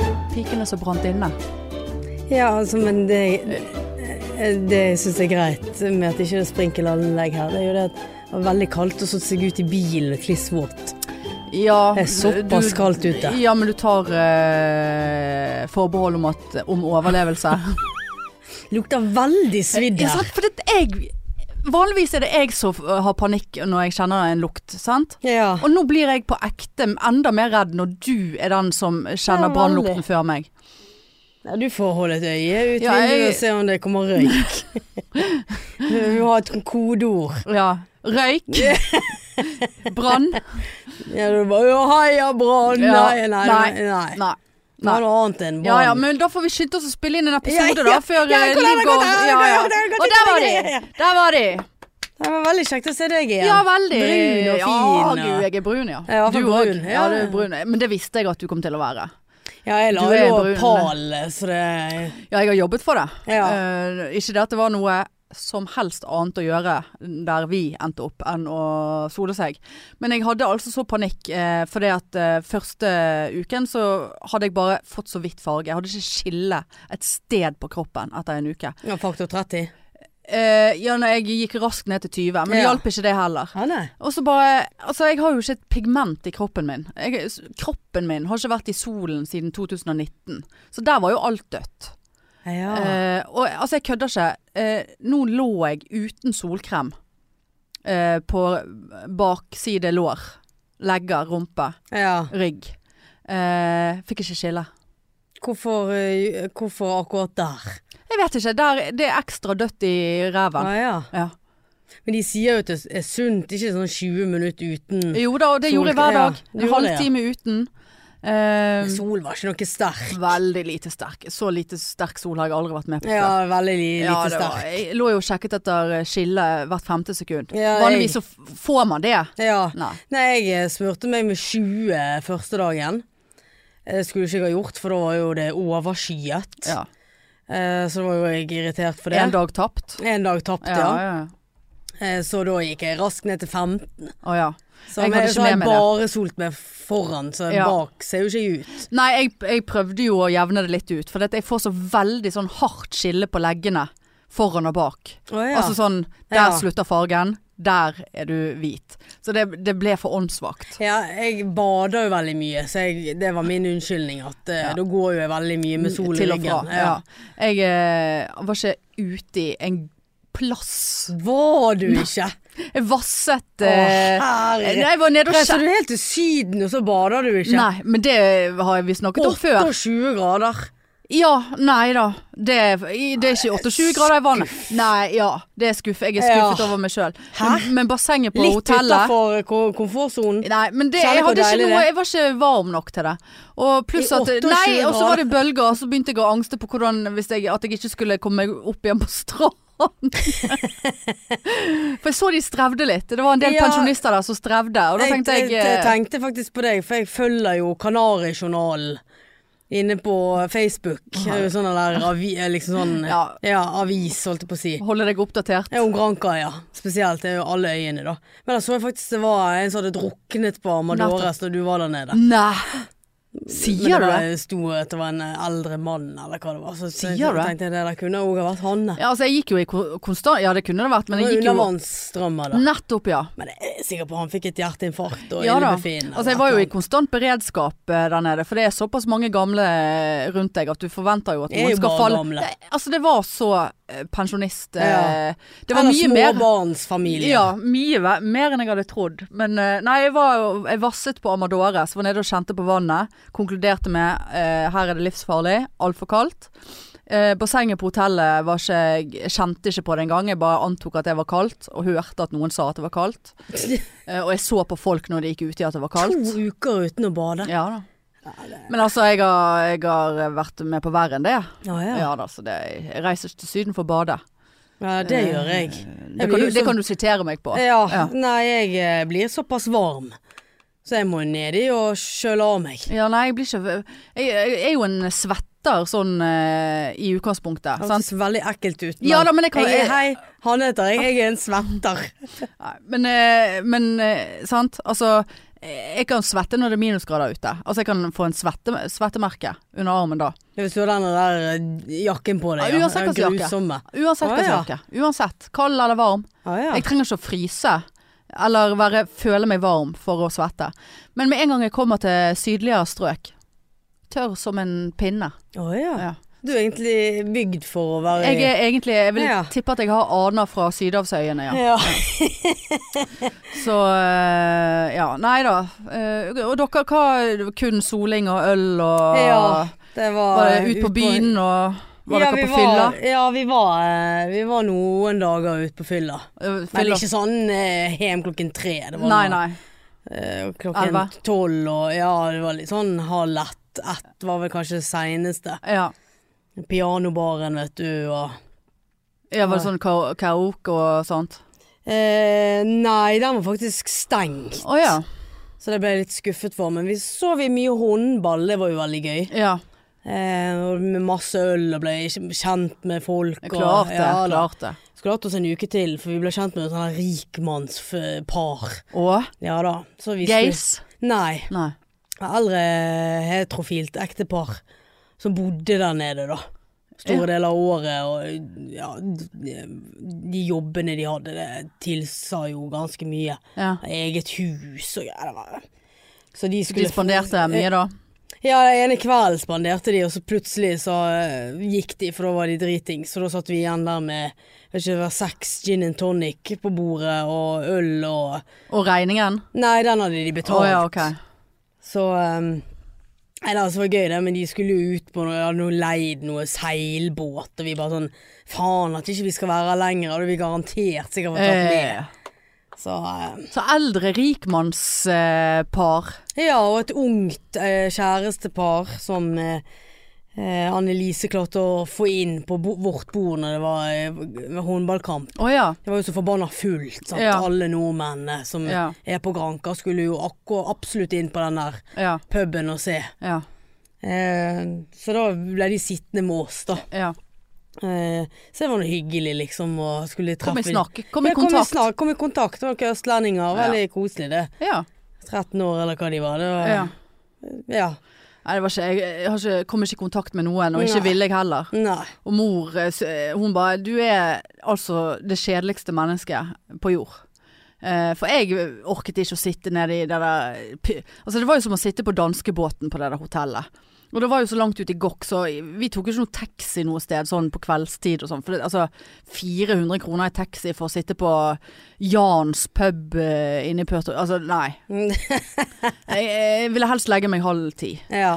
det som brant inne? Ja, altså, men det, det syns jeg er greit med at det ikke er sprinkelanlegg her. Det er jo det at det var veldig kaldt og så seg ut i bilen klissvåt. Ja, Det er såpass du- kaldt ute. Ja, men du tar eh, forbehold om, at, om overlevelse. Lukter veldig svidd Ja, her. sant, for det jeg Vanligvis er det jeg som f- har panikk når jeg kjenner en lukt, sant? Ja. Og nå blir jeg på ekte enda mer redd når du er den som kjenner Ja, brannlukten veldig. før meg. Ja, Du får holde et øye ut Ja, jeg- vinduet og se om det kommer røyk. Vi må ha et kodeord. Ja. Røyk. Brann. Ja, du bare «Å, heia brann! Ja, Nei, nei, nei, nei. nei. Nei. Det var noe annet enn Ja ja, brann. men da får vi skynde oss å spille inn en episode, Ja, da. ja, Før ja, eh, hvordan har det Ligg gått? og Ja, Ja ja. hvordan har det gått? Og der var Ja, ja, de! ja. Der var de. Det var veldig kjekt å se deg igjen. Ja, veldig. Brun og fin. Ja, og- gud, jeg er brun, ja. Jeg er i hvert fall Du òg. brun, Ja, ja. du er brun. Men det visste jeg at du kom til å være. Ja, jeg la Du er jo brun. pal, så det Ja, jeg har jobbet for det. Ja. Eh, ikke det at det var noe som helst annet å gjøre der vi endte opp enn å sole seg. Men jeg hadde altså så panikk, uh, for det at eh, første uken så hadde jeg bare fått så vidt farge. Jeg hadde ikke skille et sted på kroppen etter en uke. ja, Faktor 30. Eh, ja, nei, jeg gikk raskt ned til 20, men det Ja. hjalp ikke det heller. Ja, nei. Og så bare Altså, jeg har jo ikke et pigment i kroppen min. Jeg, s- kroppen min har ikke vært i solen siden 2019. Så der var jo alt dødt. Ja. Eh, og altså, jeg kødder ikke. Eh, nå lå jeg uten solkrem eh, på bakside lår. Legger, rumpe, ja. rygg. Eh, fikk ikke skille. Hvorfor, eh, hvorfor akkurat der? Jeg vet ikke. Der, det er ekstra dødt i ræven. Ja, ja. Ja. Men de sier jo at det er sunt, ikke sånn 20 minutter uten Jo da, og det Sol- gjorde jeg hver ja, dag. du en gjorde det, ja. halvtime uten. Eh, Sol var ikke noe sterk. veldig lite sterk. Så lite sterk sol har jeg aldri vært med på før. Ja, veldig li, Ja, lite det var- sterk. jeg lå jo og sjekket etter eh, skille hvert femte sekund. Ja, Vanligvis så jeg- f- får man det. Ja. Nei. Nei, jeg eh, smurte meg med 20 første dagen. Eh, Skulle ikke jeg ha gjort, for da var jo det overskyet. Ja. Eh, Så da var jo jeg irritert for det. En dag tapt. En dag tapt, ja. Ja, ja. Eh, Så da gikk jeg raskt ned til 15. Å, ja. Så Jeg jeg, hadde jeg, ikke så har jeg med meg bare solt meg foran, så Ja. bak ser jo ikke ut. Nei, jeg, jeg prøvde jo å jevne det litt ut, for dette, jeg får så veldig sånn hardt skille på leggene foran og bak. Altså sånn, der Ja. slutter fargen, der er du hvit. Så det, det ble for åndssvakt. ja, jeg bader jo veldig mye, så jeg, det var min unnskyldning at eh, Ja. da går jo jeg veldig mye med sol i Til og fra. ryggen. Ja. Jeg eh, var ikke ute i en plass. Var du ikke? Jeg vasset Å, eh, herre. Nei, jeg var nede og Så sjekket. du er helt til Syden, og så bader du ikke? Nei, men det har vi snakket om før. 28 grader. Ja, nei da. Det, er- i- det er ikke 28 grader i vannet. Nei, ja. Det er skuff. Jeg er skuffet Ja. over meg sjøl. Hæ? Men, men bassenget på Litt hotellet utafor komfortsonen. Nei, men det, Kjenner jeg, hvor hadde ikke deilig noe, det er. jeg var ikke varm nok til det. Og pluss I at 28 Nei, og så grader. var det bølger, og så begynte jeg å angste på hvordan, hvis jeg, at jeg ikke skulle komme meg opp igjen på stranden. For jeg så de strevde litt. Det var en del Ja. pensjonister der som strevde, og da tenkte jeg, jeg eh, tenkte faktisk på deg, for jeg følger jo Kanarijournalen inne på Facebook. Det er jo Sånn der avi, liksom sånn ja. Ja. avis, holdt jeg på å si. Holde deg oppdatert. Ja, Om Granca, ja. Spesielt. Det er jo alle øyene, da. Men da så jeg faktisk det var en som hadde druknet på Amadores da du var der nede. Nei! Men Mm, Sier du det? var- sto at det var en eldre mann, eller hva det var. Så så Sier du det? tenkte jeg det der kunne òg ha vært han. Ja, altså, jeg gikk jo i ko- konstant Ja, det kunne det vært, men Det jeg gikk var jo undervannsstrømmer, da. Nettopp, ja. Men jeg er sikker på han fikk et hjerteinfarkt og Ja da. illebefinnende. Altså, jeg var jo i konstant beredskap eh, der nede, for det er såpass mange gamle eh, rundt deg at du forventer jo at Jeg er noen jo skal bare falle. gamle. Det- Altså, det var så eh, pensjonist eh, Ja. Det var mye Eller mer. småbarnsfamilie. Ja, mye ve- mer enn jeg hadde trodd. Men eh, nei, jeg, var, jo- jeg vasset på Amadores, var nede og kjente på vannet. Konkluderte med eh, her er det livsfarlig, altfor kaldt. Eh, bassenget på hotellet var ikke Jeg kjente ikke på det engang. Jeg bare antok at det var kaldt, og hørte at noen sa at det var kaldt. Eh, og jeg så på folk når de gikk uti at det var kaldt. To uker uten å bade. Ja da. Men altså, jeg har, jeg har vært med på verre enn det. Ja, Ja, ja. da, så det, jeg reiser ikke til Syden for å bade. Ja, det gjør jeg. Eh, Det Jeg kan, blir du, jo det så- kan du sitere meg på. Ja, nei, jeg eh, blir såpass varm. Så jeg må nedi og kjøle av meg. Ja, nei, jeg blir ikke Jeg, jeg er jo en svetter sånn eh, i utgangspunktet. Det Sant? høres veldig ekkelt ut. Ja da, men jeg kan- er- Hei, han heter jeg. Jeg er en svetter. Nei, Men, eh, men eh, sant? Altså, Jeg kan svette når det er minusgrader ute. Altså jeg kan få en svette, svettemerke under armen da. Hvis du har sånn den der eh, jakken på deg, Ja, uansett hva slags jakke. Grusomme. Uansett hva Å, ja. slags jakke. Uansett. Kald eller varm. Ah, ja. Jeg trenger ikke å fryse. Eller være, føle meg varm for å svette. Men med en gang jeg kommer til sydligere strøk, tørr som en pinne. Å, ja. Ah, Ja. Du er egentlig bygd for å være Jeg er egentlig Jeg vil Ja. tippe at jeg har aner fra Sydhavsøyene, ja. ja. Så eh, ja, nei da. Eh, og dere, hva Kun soling og øl og Ja, Det var, Ah. Var eh, det ut på byen og Var Ja, dere vi på fylla? var- Ja, vi var, eh, vi var noen dager ute på fylla. Eh, Men fylla? ikke sånn eh, hjem klokken tre. Det var Nei, noe- nei. eh, klokken Elva. tolv og ja, det var litt sånn halv ett. Ett var vel kanskje det seineste. Ja. Pianobaren, vet du, og ja var det sånn ka- karaoke og sånt? eh, Nei, den var faktisk stengt, Å ja. så det ble jeg litt skuffet for. Men vi så vi mye håndball, det var jo veldig gøy. ja. Eh, og med masse øl og ble kjent med folk. og- Klart det. Ja, da. klart det. Skulle hatt oss en uke til, for vi ble kjent med et sånt her rikmannspar. Og Ja da. Så vi skulle- gays? Nei. Nei. Eldre heterofilt ektepar som bodde der nede, da. Store Ja. deler av året, og ja De jobbene de hadde, det tilsa jo ganske mye. Ja. Eget hus og greier. det var- Så de skulle De spanderte mye da? Ja, den ene kvelden spanderte de, og så plutselig så eh, gikk de, for da var de driting. Så da satt vi igjen der med jeg vet ikke, det var seks gin and tonic på bordet, og øl og Og regningen? Nei, den hadde de Å betalt. ja, ok. Så eh, Nei, det var gøy det, men de skulle jo ut på noe, hadde noe leid noe seilbåt, og vi bare sånn Faen, at ikke vi skal være her lenger, hadde vi garantert sikkert vært tatt med. Eh, Så eh, så eldre rikmannspar. Ja, og et ungt eh, kjærestepar som eh, eh, Annelise klarte å få inn på bo vårt bord når det var eh, håndballkamp. Å ja. Det var jo så forbanna fullt. Sant? Ja. Alle nordmennene som Ja. er på Granka skulle jo akkur absolutt inn på den der Ja. puben og se. Ja. Eh, så da ble de sittende med oss, da. ja. Eh, så det var noe hyggelig, liksom, å skulle treffe Kom i snakk. Kom Ja, i kontakt. Kom i, snak, kom i kontakt. Det var ikke østlendinger. Ja. Veldig koselig, det. Ja. 13 år eller hva de var. Det var ja. ja. Eh, Nei, det var ikke, jeg jeg har ikke, kom ikke i kontakt med noen, og ikke Nei. ville jeg heller. Nei. Og mor, eh, s- eh, hun bare Du er altså det kjedeligste mennesket på jord. Eh, for jeg orket ikke å sitte nede i det der p- Altså, det var jo som å sitte på danskebåten på det der hotellet. Og det var jo så langt ut i gokk, så vi tok jo ikke noe taxi noe sted sånn på kveldstid og sånn. For det, altså, 400 kroner i taxi for å sitte på Jans pub eh, inne i Pørto Altså, nei. Jeg, jeg ville helst legge meg halv ti. ja.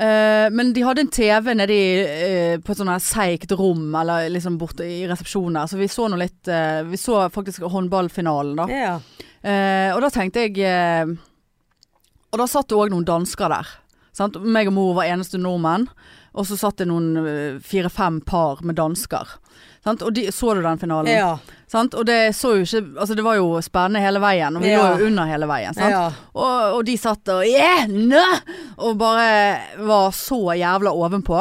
Eh, men de hadde en TV nede i, eh, på et sånt her seigt rom, eller liksom borte i resepsjonen der, så vi så nå litt eh, Vi så faktisk håndballfinalen, da. ja. Eh, og da tenkte jeg eh, Og da satt det òg noen dansker der. Sant? Meg og mor var eneste nordmenn, og så satt det noen eh, fire-fem par med dansker. Sant? Og de, så du den finalen? Ja. Sant? Og det så jo ikke Altså, det var jo spennende hele veien, og vi Ja. lå jo under hele veien. Sant? Ja. Og, og de satt og yeah, nø! Og bare var så jævla ovenpå.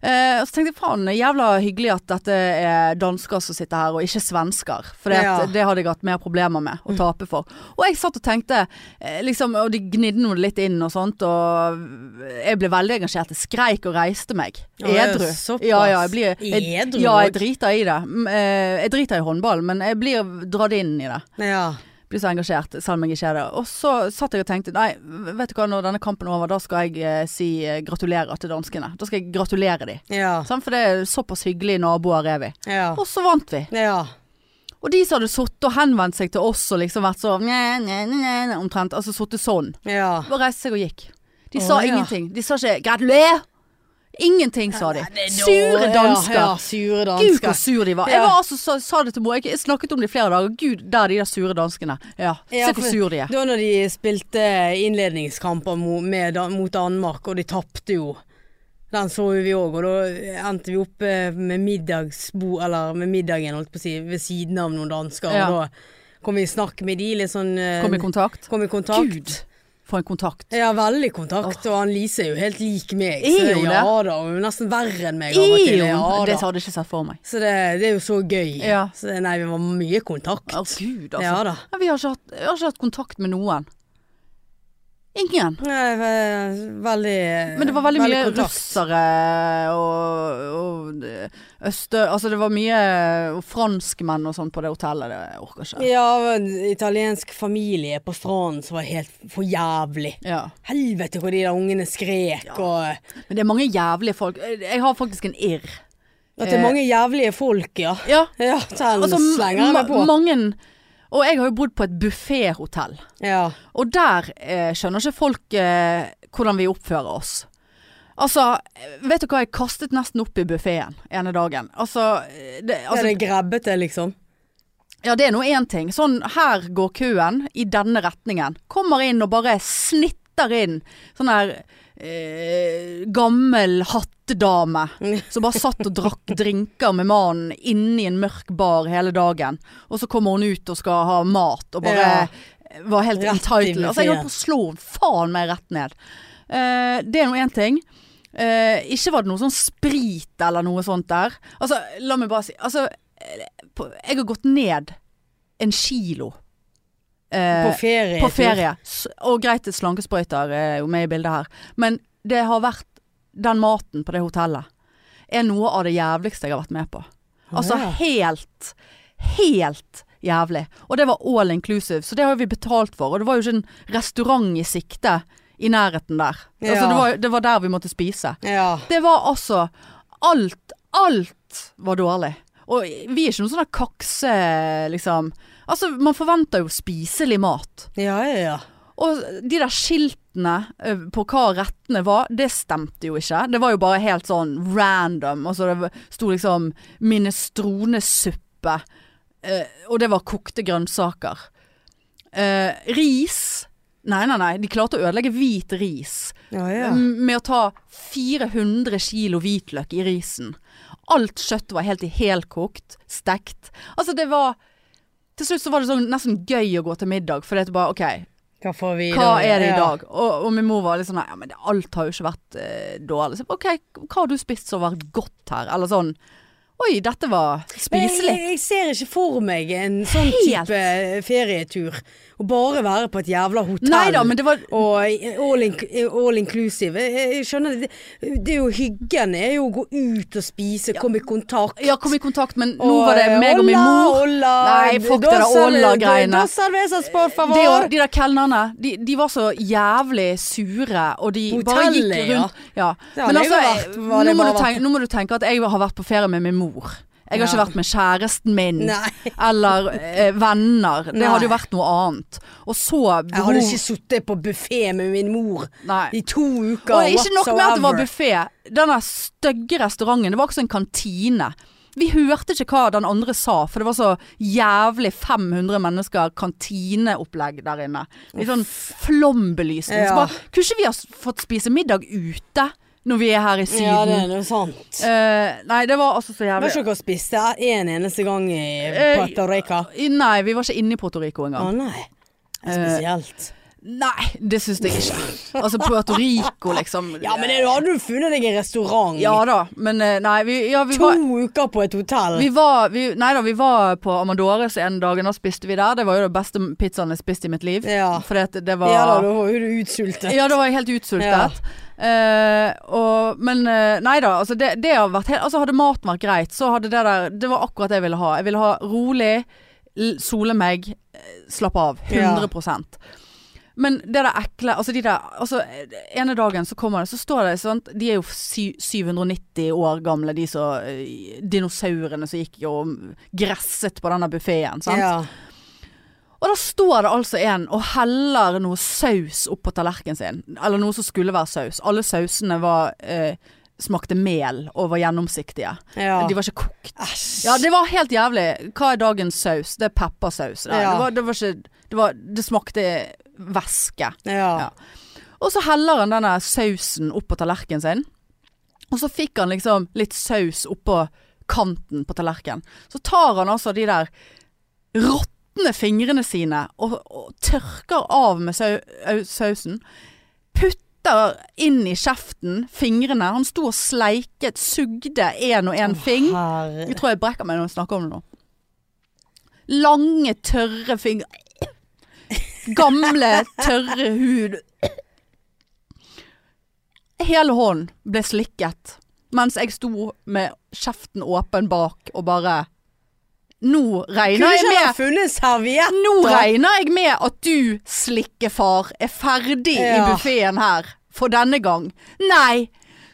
Eh, og så tenkte jeg faen, jævla hyggelig at dette er dansker som sitter her, og ikke svensker. For det, Ja. det hadde jeg hatt mer problemer med å tape for. Og jeg satt og tenkte, eh, liksom, og de gnidde noe litt inn og sånt, og jeg ble veldig engasjert. Jeg skreik og reiste meg. Ja, det er Edru. såpass. Ja, ja, jeg blir, jeg, Edru Ja, jeg også? driter i det. Mm, eh, Jeg driter i håndball, men jeg blir dratt inn i det ja. blir så engasjert, selv om jeg ikke er det. Og så satt jeg og tenkte nei, vet du hva, når denne kampen er over, da skal jeg eh, si eh, gratulerer til danskene. Da skal jeg gratulere de. Ja. Sant? For det er såpass hyggelige naboer er vi. Ja. Og så vant vi. Ja. Og de som hadde sittet og henvendt seg til oss og liksom vært så nye, nye, nye, nye, omtrent, altså sittet sånn, ja. bare reiste seg og gikk. De Å, sa ja. ingenting. De sa ikke 'gratuler'. Ingenting sa de. Sure dansker. Ja, ja, sure Gud, hvor dansker. sur de var. Ja. Jeg var altså, sa, sa det til mor, jeg snakket om det i flere dager. Gud, der er de der sure danskene. Ja, Ja, se hvor for- sur de er. Det var når de spilte innledningskamper mo- med, Dan- mot Danmark, og de tapte jo. Den så jo vi òg, og da endte vi opp eh, med middagsbo, eller med middagen, holdt på å si, ved siden av noen dansker. Ja. Og da kom vi i snakk med de, litt sånn eh, Kom i kontakt. kom i kontakt. Gud, for en kontakt. Ja, veldig kontakt, og Annelise er jo helt lik meg. Er hun det? ja da, hun er nesten verre enn meg av og til. Eon! Ja, det da. hadde jeg ikke sett for meg. Så det, det er jo så gøy. Ja. Så det- nei, vi var mye kontakt. Å gud, altså. Ja da. Nei, Vi har ikke hatt, jeg har ikke hatt kontakt med noen. Ingen. Nei, ve- veldig Men det var veldig, mye kontakt. russere og, og østø... Altså det var mye og franskmenn og sånn på det hotellet. Det orker jeg ikke. Ja, en italiensk familie på stranden som var helt for jævlig. Ja. Helvete hvor de der ungene skrek og eh, Men det er mange jævlige folk. Jeg har faktisk en irr. At det er mange jævlige folk, ja. Ja. Ja, den Eh. Altså, slenger jeg meg på. ma- mange Og jeg har jo bodd på et bufféhotell. Ja. Og der eh, skjønner ikke folk eh, hvordan vi oppfører oss. Altså, vet du hva, jeg kastet nesten opp i buffeen ene dagen. Altså, eh, det, ja, altså det er grabbete, liksom. Ja, det er nå én ting. Sånn, her går køen i denne retningen. Kommer inn og bare snitter inn sånn her eh, gammel hattedame som bare satt og drakk drinker med mannen inni en mørk bar hele dagen. Og så kommer hun ut og skal ha mat, og bare Ja. var helt Rett i entitled. Altså, jeg buffeten. holdt på å slå henne faen meg rett ned. Eh, det er nå én ting. Eh, ikke var det noe sånn sprit eller noe sånt der. Altså, la meg bare si altså, eh, på, Jeg har gått ned en kilo eh, På ferie. på ferie. S- Og greit, et slankesprøyter er jo med i bildet her. Men det har vært Den maten på det hotellet er noe av det jævligste jeg har vært med på. Altså Ja. helt, helt jævlig. Og det var all inclusive, så det har jo vi betalt for. Og det var jo ikke en restaurant i sikte i nærheten der. Altså, Ja. det, var, det var der vi måtte spise. Ja. Det var altså Alt, alt var dårlig. Og vi er ikke noen sånne kakse, liksom. Altså, man forventer jo spiselig mat. Ja, ja, ja. Og de der skiltene ø, på hva rettene var, det stemte jo ikke. Det var jo bare helt sånn random. Altså det v- sto liksom 'minestronesuppe', eh, og det var kokte grønnsaker. Eh, ris Nei, nei, nei. De klarte å ødelegge hvit ris ja, ja. m- med å ta 400 kilo hvitløk i risen. Alt kjøttet var helt i helkokt, stekt. Altså det var Til slutt så var det sånn nesten gøy å gå til middag, for det er bare OK. Hva får vi i Hva dag? er det i Ja. dag? Og, og min mor var litt sånn Ja, men det, alt har jo ikke vært eh, dårlig. Så jeg bare, OK, hva har du spist som har vært godt her? Eller sånn Oi, dette var Jeg, spiselig. jeg- jeg ser ikke for meg en sånn Helt. type ferietur. Å bare være på et jævla hotell. Nei da, men det var Og all, in all inclusive. Jeg, jeg skjønner det. Det er jo hyggen er jo å gå ut og spise, komme i kontakt. Ja, kom i kontakt, men nå Og, var det eh, meg og min olla, mor. Olla, Nei, fuck det der Dos al- olla-greiene. Dos cervezas, por favor. De, de der kelnerne, de, de var så jævlig sure, og de På bare gikk hotellet, ja. rundt Ja. Det har Men jeg jo altså, vært, var nå det må, bare du vært- tenke, nå må du tenke at jeg har vært på ferie med min mor. Jeg har Ja. ikke vært med kjæresten min Nei. eller eh, venner. Det Nei. hadde jo vært noe annet. Og så Jeg hadde behov- ikke sittet på buffé med min mor Nei. i to uker. Og ikke nok med at det var whatsoever. buffé. Denne stygge restauranten, det var også en kantine. Vi hørte ikke hva den andre sa, for det var så jævlig 500 mennesker kantineopplegg der inne. Litt sånn flombelysning. Så Ja. bare, kunne ikke vi ha s- fått spise middag ute når vi er her i Syden? Ja, det er noe sant. Eh, nei, det var altså så Var jævlig. ikke dere og spiste en eneste gang i Eh, Puerto Rico? Nei, vi var ikke inne i Puerto Rico Å engang. nei. Eh, Spesielt. Nei, det syns jeg ikke. Altså Puerto Rico, liksom. Ja, men det hadde du funnet deg en restaurant. Ja da, men eh, nei, vi, ja, vi to var uker på et hotell. Vi var, vi, nei da, vi var på Amadores en dag, og da spiste vi der. Det var jo den beste pizzaen jeg spiste i mitt liv. Ja. For det, det var ja da, da var jo du utsultet. Ja, da var jeg helt utsultet. Eh, og, men eh, nei da, altså det, det har vært helt Altså hadde maten vært greit, så hadde det der Det var akkurat det jeg ville ha. Jeg ville ha rolig, l- sole meg, eh, slappe av. 100 Men det der ekle Altså de der altså, eh, Ene dagen så kommer det, så står det sånt De er jo sy 790 år gamle, de som eh, Dinosaurene som gikk og gresset på denne buffeen, sant. Ja. Og da står det altså en og heller noe saus opp på tallerkenen sin. Eller noe som skulle være saus. Alle sausene var, eh, smakte mel og var gjennomsiktige. Ja. De var ikke kokt. Æsj. Ja, det var helt jævlig. Hva er dagens saus? Det er peppersaus. Nei, Ja. Det, var, det var ikke det, var, det smakte væske. ja. Ja. Og så heller han denne sausen opp på tallerkenen sin. Og så fikk han liksom litt saus oppå kanten på tallerkenen. Så tar han altså de der råtne fingrene sine og, og tørker av med sau, au- sausen. Putter inn i kjeften fingrene. Han sto og sleiket, sugde én og én fing. Herre. Jeg tror jeg brekker meg når jeg snakker om det nå. Lange, tørre fingre. Gamle, tørre hud. Hele hånden ble slikket mens jeg sto med kjeften åpen bak og bare Nå regner Kunne jeg ikke han ha med funnet serviett? Nå da? regner jeg med at du, slikkefar, er ferdig i Ja. buffeen her for denne gang. Nei!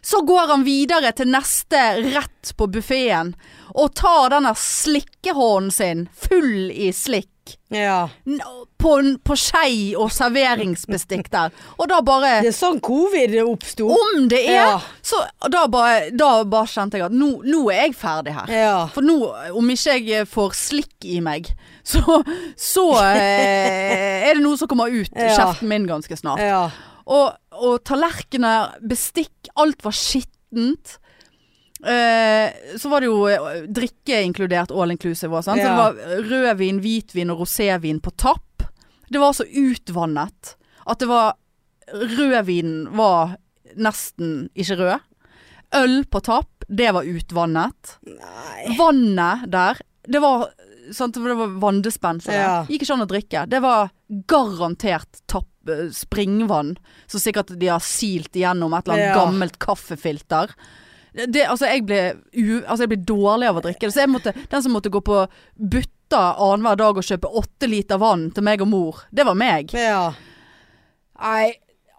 Så går han videre til neste rett på buffeen og tar denne slikkehånden sin full i slikk Ja. n- på, på skei og serveringsbestikk der. Og da bare Det er sånn covid oppsto. Om det er! Ja. Så da bare, da bare kjente jeg at nå, nå er jeg ferdig her. Ja. For nå, om ikke jeg får slikk i meg, så, så eh, er det noe som kommer ut i Ja. kjeften min ganske snart. ja. Og, og tallerkener, bestikk, alt var skittent. Eh, så var det jo eh, drikke inkludert all inclusive òg, sant. Så Ja. det var rødvin, hvitvin og rosévin på tapp. Det var så utvannet at det var Rødvinen var nesten ikke rød. Øl på tapp, det var utvannet. Nei. Vannet der Det var, sant, for det var vanndispenser der. Ja. Gikk ikke an å drikke. Det var garantert tapp, eh, springvann. Så sikkert de har silt igjennom et eller annet Ja. gammelt kaffefilter. Det, altså, jeg ble u, altså, jeg ble dårlig av å drikke det. Så jeg måtte, den som måtte gå på butta annenhver dag og kjøpe åtte liter vann til meg og mor, det var meg. Ja. Nei,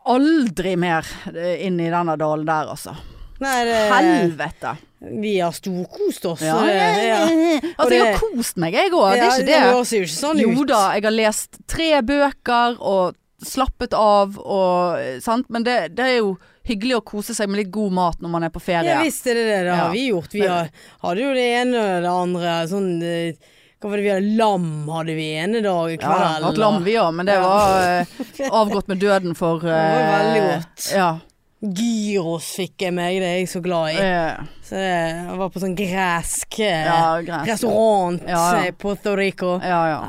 aldri mer eh, inn i denne dalen der, altså. Nei, det Helvete. Vi har storkost oss. Ja, Eh. så ja, det- ja. Altså, jeg Og det- har kost meg, jeg òg. Det Ja, er ikke det. høres jo ikke sånn ut. Jo da, jeg har lest tre bøker og slappet av og eh, sant? Men det, det er jo hyggelig å kose seg med litt god mat når man er på ferie. Ja visst er det det, det har Ja. vi gjort. Vi Men- har, hadde jo det ene og det andre. Sånn eh, Hva var det vi hadde? Lam hadde vi ene dag i Ja, da, kveld. hatt lam vi òg, men det Ja. var eh, avgått med døden for var eh, veldig godt. Ja. og gyros fikk jeg meg, det er jeg så glad i. eh, Så det, jeg var på sånn gresk eh, ja, greit. restaurant Ja, ja. eh, på Puerto Rico. Ja, ja.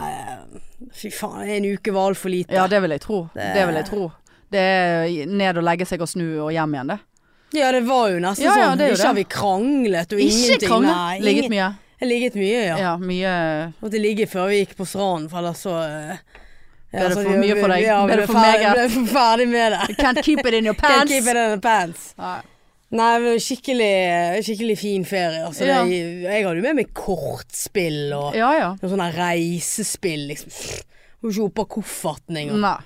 Fy faen, en uke var altfor lite. ja, det vil jeg tro. Det vil jeg tro. Det er ned og legge seg og snu og hjem igjen, det. Ja, det var jo nesten Ja, ja, sånn. det er jo Ikke har vi det. kranglet og Ikke ingenting. krangle. Nei, Ligget ingen- mye. Jeg ligget mye, ja. Ja, mye Måtte ligge før vi gikk på stranden, for ellers så eh, ja, Ble det så for vi- mye for deg? Ja, Ble ble, det for ferdig, meget? ble for ferdig med det. Can't keep it in your Can't pants. keep it in the pants. Nei. Nei, men skikkelig, skikkelig fin ferie. Altså, Ja. det, jeg hadde jo med meg kortspill og Ja ja. noe sånn her reisespill, liksom. Og ikke oppe av kofferten engang. Nei.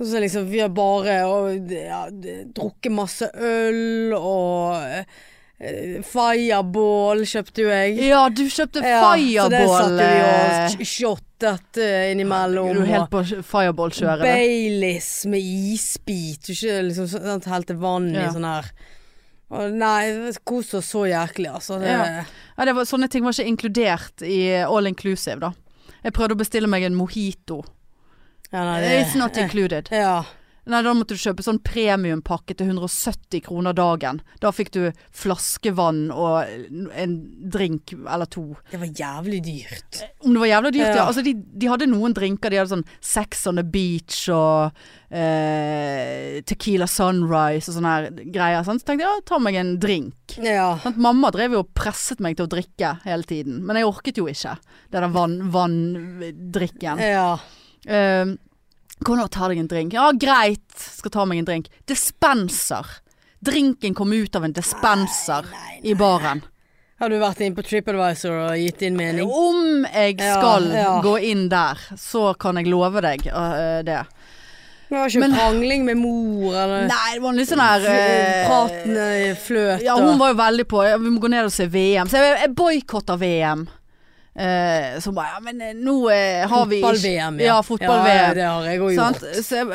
Og Så liksom, vi har bare og, ja, drukket masse øl og eh, Fireball kjøpte jo jeg. Ja, du kjøpte Så det satt fireball. jo vi eh, og sh- shottet eh, innimellom. Er du helt og på fireball-kjøret? du? Baileys med isbit. Du Ikke liksom så- sånn helte vann i Ja. sånn her. Og nei, kos oss så jæklig, altså. Det, Ja. Ja, det var, sånne ting var ikke inkludert i eh, all inclusive, da. Jeg prøvde å bestille meg en mojito. Ja, nei, det- It's not included. Ja. Nei, da måtte du kjøpe sånn premiumpakke til 170 kroner dagen. Da fikk du flaskevann og en drink eller to. Det var jævlig dyrt. Om det var jævla dyrt, ja. Ja. Altså, de, de hadde noen drinker. De hadde sånn Sex on the Beach og eh, Tequila Sunrise og sånne her greier. Sant? Så tenkte jeg ja, ta meg en drink. Ja. Sant? Mamma drev jo og presset meg til å drikke hele tiden, men jeg orket jo ikke det der vann- vanndrikken. ja. Vann Kom nå, ta deg en drink. Ja, greit, skal ta meg en drink. Dispenser. Drinken kom ut av en dispenser Nei, i baren. Har du vært inne på TripAdvisor og gitt din mening? Om jeg Ja, skal ja. gå inn der, så kan jeg love deg øh, det. Det var ikke Men- krangling med mor eller Nei, det var litt sånn her øh, Praten eh, fløt Ja, hun var jo veldig på ja, Vi må gå ned og se VM. Så jeg, jeg boikotta VM. Eh, så bare Ja, men eh, nå eh, har vi ikke- Fotball-VM, Ja, fotball-VM. det har jeg òg sant? gjort. Så jeg,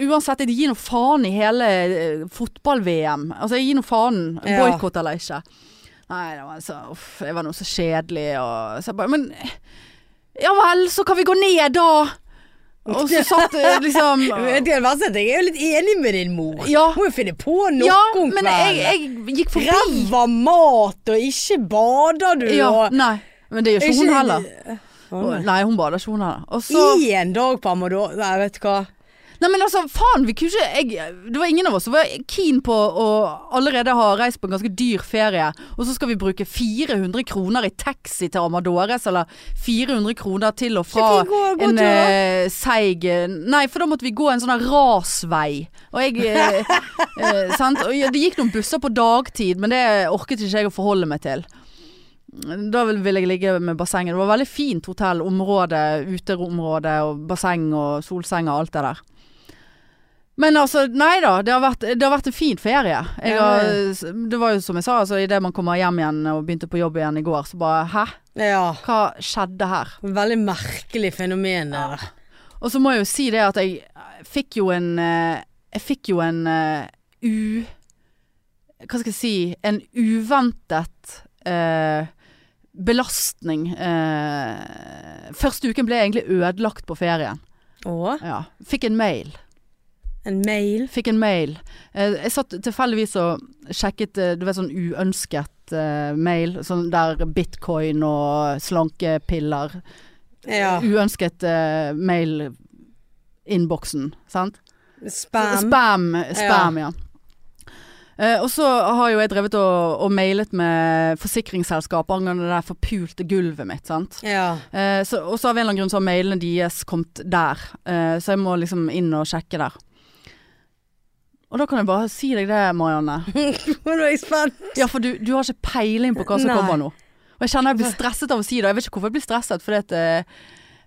og uansett, jeg gir noe faen i hele eh, fotball-VM. Altså, jeg gir noe faen. Ja. Boikott eller ikke. Nei, det var, så, uff, det var noe så kjedelig og så jeg bare Men eh, ja vel, så kan vi gå ned, da. Og så satt eh, liksom Men Det er det verste at jeg er jo litt enig med din mor. Ja. Hun må jo finne på noe Ja, om men jeg, kvelden. jeg gikk forbi. Ræva mat, og ikke bader du, Ja, og nei, men det gjør ikke hun heller. Å, Og- Nei, hun bader ikke hun heller. Og så nei. Én dag på Amador Nei, vet du hva. Nei, men altså, faen, vi kunne ikke jeg, Det var ingen av oss som var keen på å allerede ha reist på en ganske dyr ferie, og så skal vi bruke 400 kroner i taxi til Amadores, eller 400 kroner til og fra Skal vi gå- gå en tur, da? eh, seig eh, Nei, for da måtte vi gå en sånn her rasvei, og jeg eh, eh, Sant? Og ja, det gikk noen busser på dagtid, men det orket ikke jeg å forholde meg til. Da vil- ville jeg ligge med bassenget. Det var veldig fint hotell. Område, uteområde og basseng og solseng og alt det der. Men altså, nei da. Det har vært, det har vært en fin ferie. Jeg Ja, har, ja. det var jo som jeg sa, altså, idet man kommer hjem igjen og begynte på jobb igjen i går, så bare Hæ? Ja. Hva skjedde her? Veldig merkelig fenomen det der. Og så må jeg jo si det at jeg fikk jo en eh, Jeg fikk jo en eh, u... Hva skal jeg si? En uventet eh, belastning. eh, første uken ble jeg egentlig ødelagt på ferien. Å? Ja. Fikk en mail. En mail? Fikk en mail. Eh, jeg satt tilfeldigvis og sjekket eh, du vet, sånn uønsket eh, mail, sånn der bitcoin og slankepiller Ja. Uønsket eh, mail-innboksen, sant? Spam? Spam, spam ja. Eh, og så har jo jeg drevet og, og mailet med forsikringsselskapet angående det der forpulte gulvet mitt. sant? Ja. Eh, så, og så av en eller annen grunn så har mailene deres kommet der, eh, så jeg må liksom inn og sjekke der. Og da kan jeg bare si deg det, Marianne. Nå er jeg spent. Ja, for du, du har ikke peiling på hva som Nei. kommer nå. Og jeg kjenner jeg blir stresset av å si det. og Jeg vet ikke hvorfor jeg blir stresset, fordi at eh,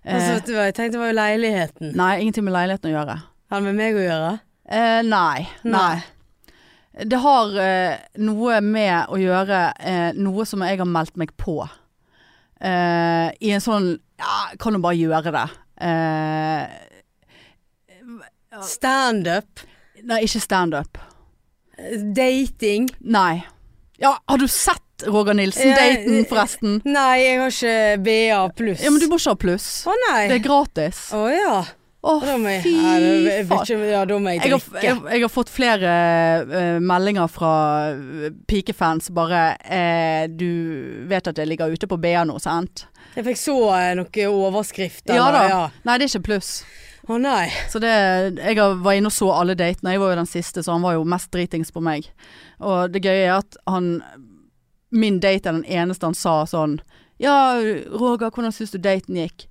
Altså, eh, vet du hva, jeg tenkte det var jo leiligheten. Nei, ingenting med leiligheten å gjøre. Har det med meg å gjøre? Eh, nei. Nei. Det har eh, noe med å gjøre eh, noe som jeg har meldt meg på. Eh, I en sånn Ja, kan du bare gjøre det? Eh, Standup? nei, ikke standup. Dating? Nei. Ja, har du sett Roger Ja, Nilsen-daten, eh, forresten? Nei, jeg har ikke BA pluss. Ja, men du må ikke ha pluss. Å Det nei. er gratis. Å ja. Å, Da må jeg, fy ja, da, jeg, faen. vet ikke- ja, da må jeg Jeg har, drikke. jeg, jeg har fått flere eh, meldinger fra eh, pikefans bare eh, Du vet at jeg ligger ute på BA nå, sant? Jeg fikk så eh, noen overskrifter. Ja da. eller- ja. Nei, det er ikke pluss. Å nei. Så det, jeg har- var inne og så alle datene. Jeg var jo den siste, så han var jo mest dritings på meg. Og det gøye er at han Min date er den eneste han sa sånn Ja, Roger, hvordan syns du daten gikk?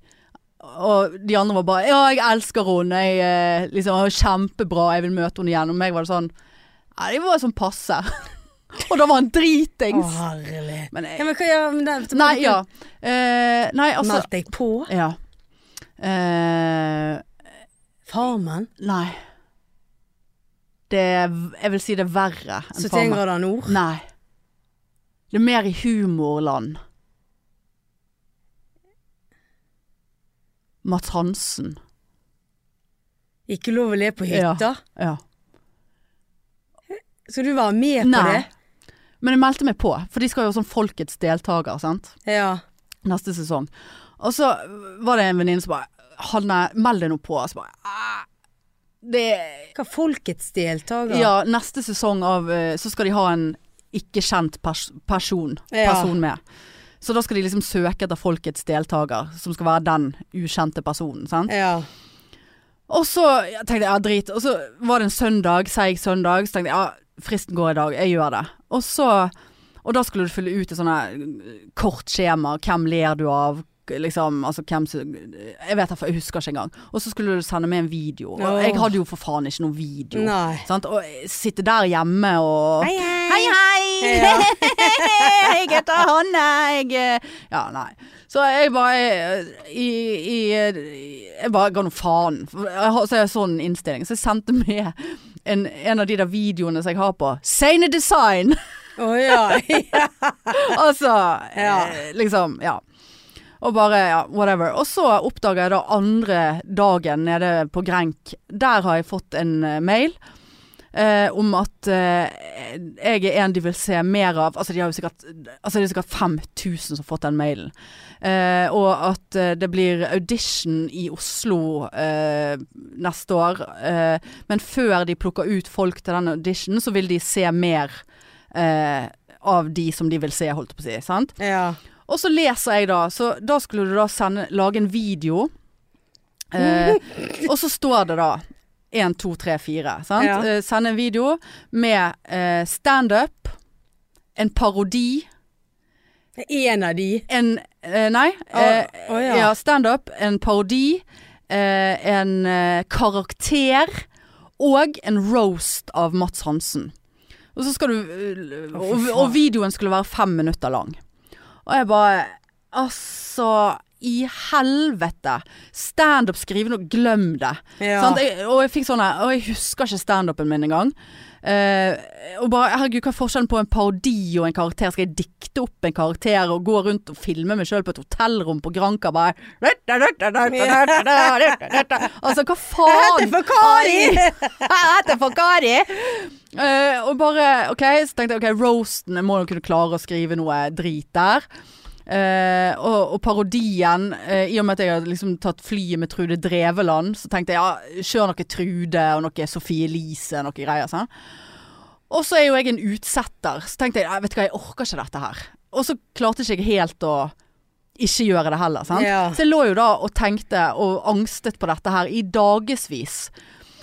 Og de andre var bare Ja, jeg elsker henne. Jeg eh, liksom har kjempebra. Jeg vil møte henne igjen. Og meg var det sånn Ja, det var sånn passe. og da var han Å dritings. herlighet. Men Ja, jeg, men hva gjør men det- Nei, ja. Eh, nei, altså Meldte jeg på? Ja. Eh, Farmen? Nei. Det er, jeg vil si det er verre enn 71 Farmen. grader nord? Nei. Det er mer i humorland. Mats Hansen. Ikke lov å le på hytta? Ja. Skal du være med på Nei. Men jeg meldte meg på, for de skal jo ha sånn Folkets deltaker, sant? det? Ja. neste sesong. Og så var det en venninne som bare Hanne, meld deg nå på. Og så bare «Ah, Det Hva folkets deltaker? Ja, neste sesong av eh, Så skal de ha en ikke-kjent pers person, Ja. person med. Så da skal de liksom søke etter folkets deltaker, som skal være den ukjente personen. Sant? Ja. Og så ja, tenkte jeg ja, drit. Og så var det en søndag, seig søndag. Så tenkte jeg ja, fristen går i dag, jeg gjør det. Og så Og da skulle du fylle ut et sånt her, øh, kort skjema. Hvem ler du av? K- Liksom, altså hvem som Jeg vet da, for jeg husker ikke engang. Og så skulle du sende med en video. Og Åh. jeg hadde jo for faen ikke noen video. Nei. Sant? Og eh, sitte der hjemme og Hei, Hei, hei! Ja. jeg heter Hanne. Jeg eh, Ja, nei. Så jeg bare eh, i, i, eh, Jeg bare ga nå faen. Jeg har så jeg har sånn innstilling. Så jeg sendte med en, en av de der videoene som jeg har på. Sane design! Å ja. altså Ja. eh, Liksom, ja. Og bare ja, whatever. Og så oppdager jeg da andre dagen nede på Grenk. Der har jeg fått en eh, mail. Eh, om at eh, jeg er en de vil se mer av. Altså, de har jo sikkert, altså det er sikkert 5000 som har fått den mailen. Eh, og at eh, det blir audition i Oslo eh, neste år. Eh, men før de plukker ut folk til den auditionen, så vil de se mer eh, av de som de vil se, holdt jeg på å si. Sant? ja. Og så leser jeg da, så da skulle du da sende, lage en video. Eh, og så står det da 1, 2, 3, 4. Sant? Ja. Eh, sende en video med eh, standup, en parodi En av de. en eh, Nei. Å, eh, å ja. ja. standup, en parodi, eh, en eh, karakter og en roast av Mats Hansen. Og så skal du eh, fy og, faen. og videoen skulle være fem minutter lang. Og jeg bare Altså, i helvete! Standup, skrive noe, glem det. Ja. Sant? Jeg, og jeg fikk sånn her, og jeg husker ikke standupen min engang. Eh, og bare, herregud, hva er forskjellen på en parodi og en karakter? Skal jeg dikte opp en karakter og gå rundt og filme meg sjøl på et hotellrom på Granca? Bare Altså, hva faen? Jeg heter for Kari! Jeg heter for Kari! Eh, og bare, ok, så tenkte jeg, ok, roasten, jeg må jo kunne klare å skrive noe drit der. Eh, og, og parodien, eh, i og med at jeg har liksom tatt flyet med Trude Dreveland, så tenkte jeg, ja, kjør noe Trude og noe Sofie Elise, noe greier, sånn. Og så er jo jeg en utsetter, så tenkte jeg, ja, vet du hva, jeg orker ikke dette her. Og så klarte ikke jeg helt å ikke gjøre det heller, sant? Ja. Så jeg lå jo da og tenkte og angstet på dette her i dagevis.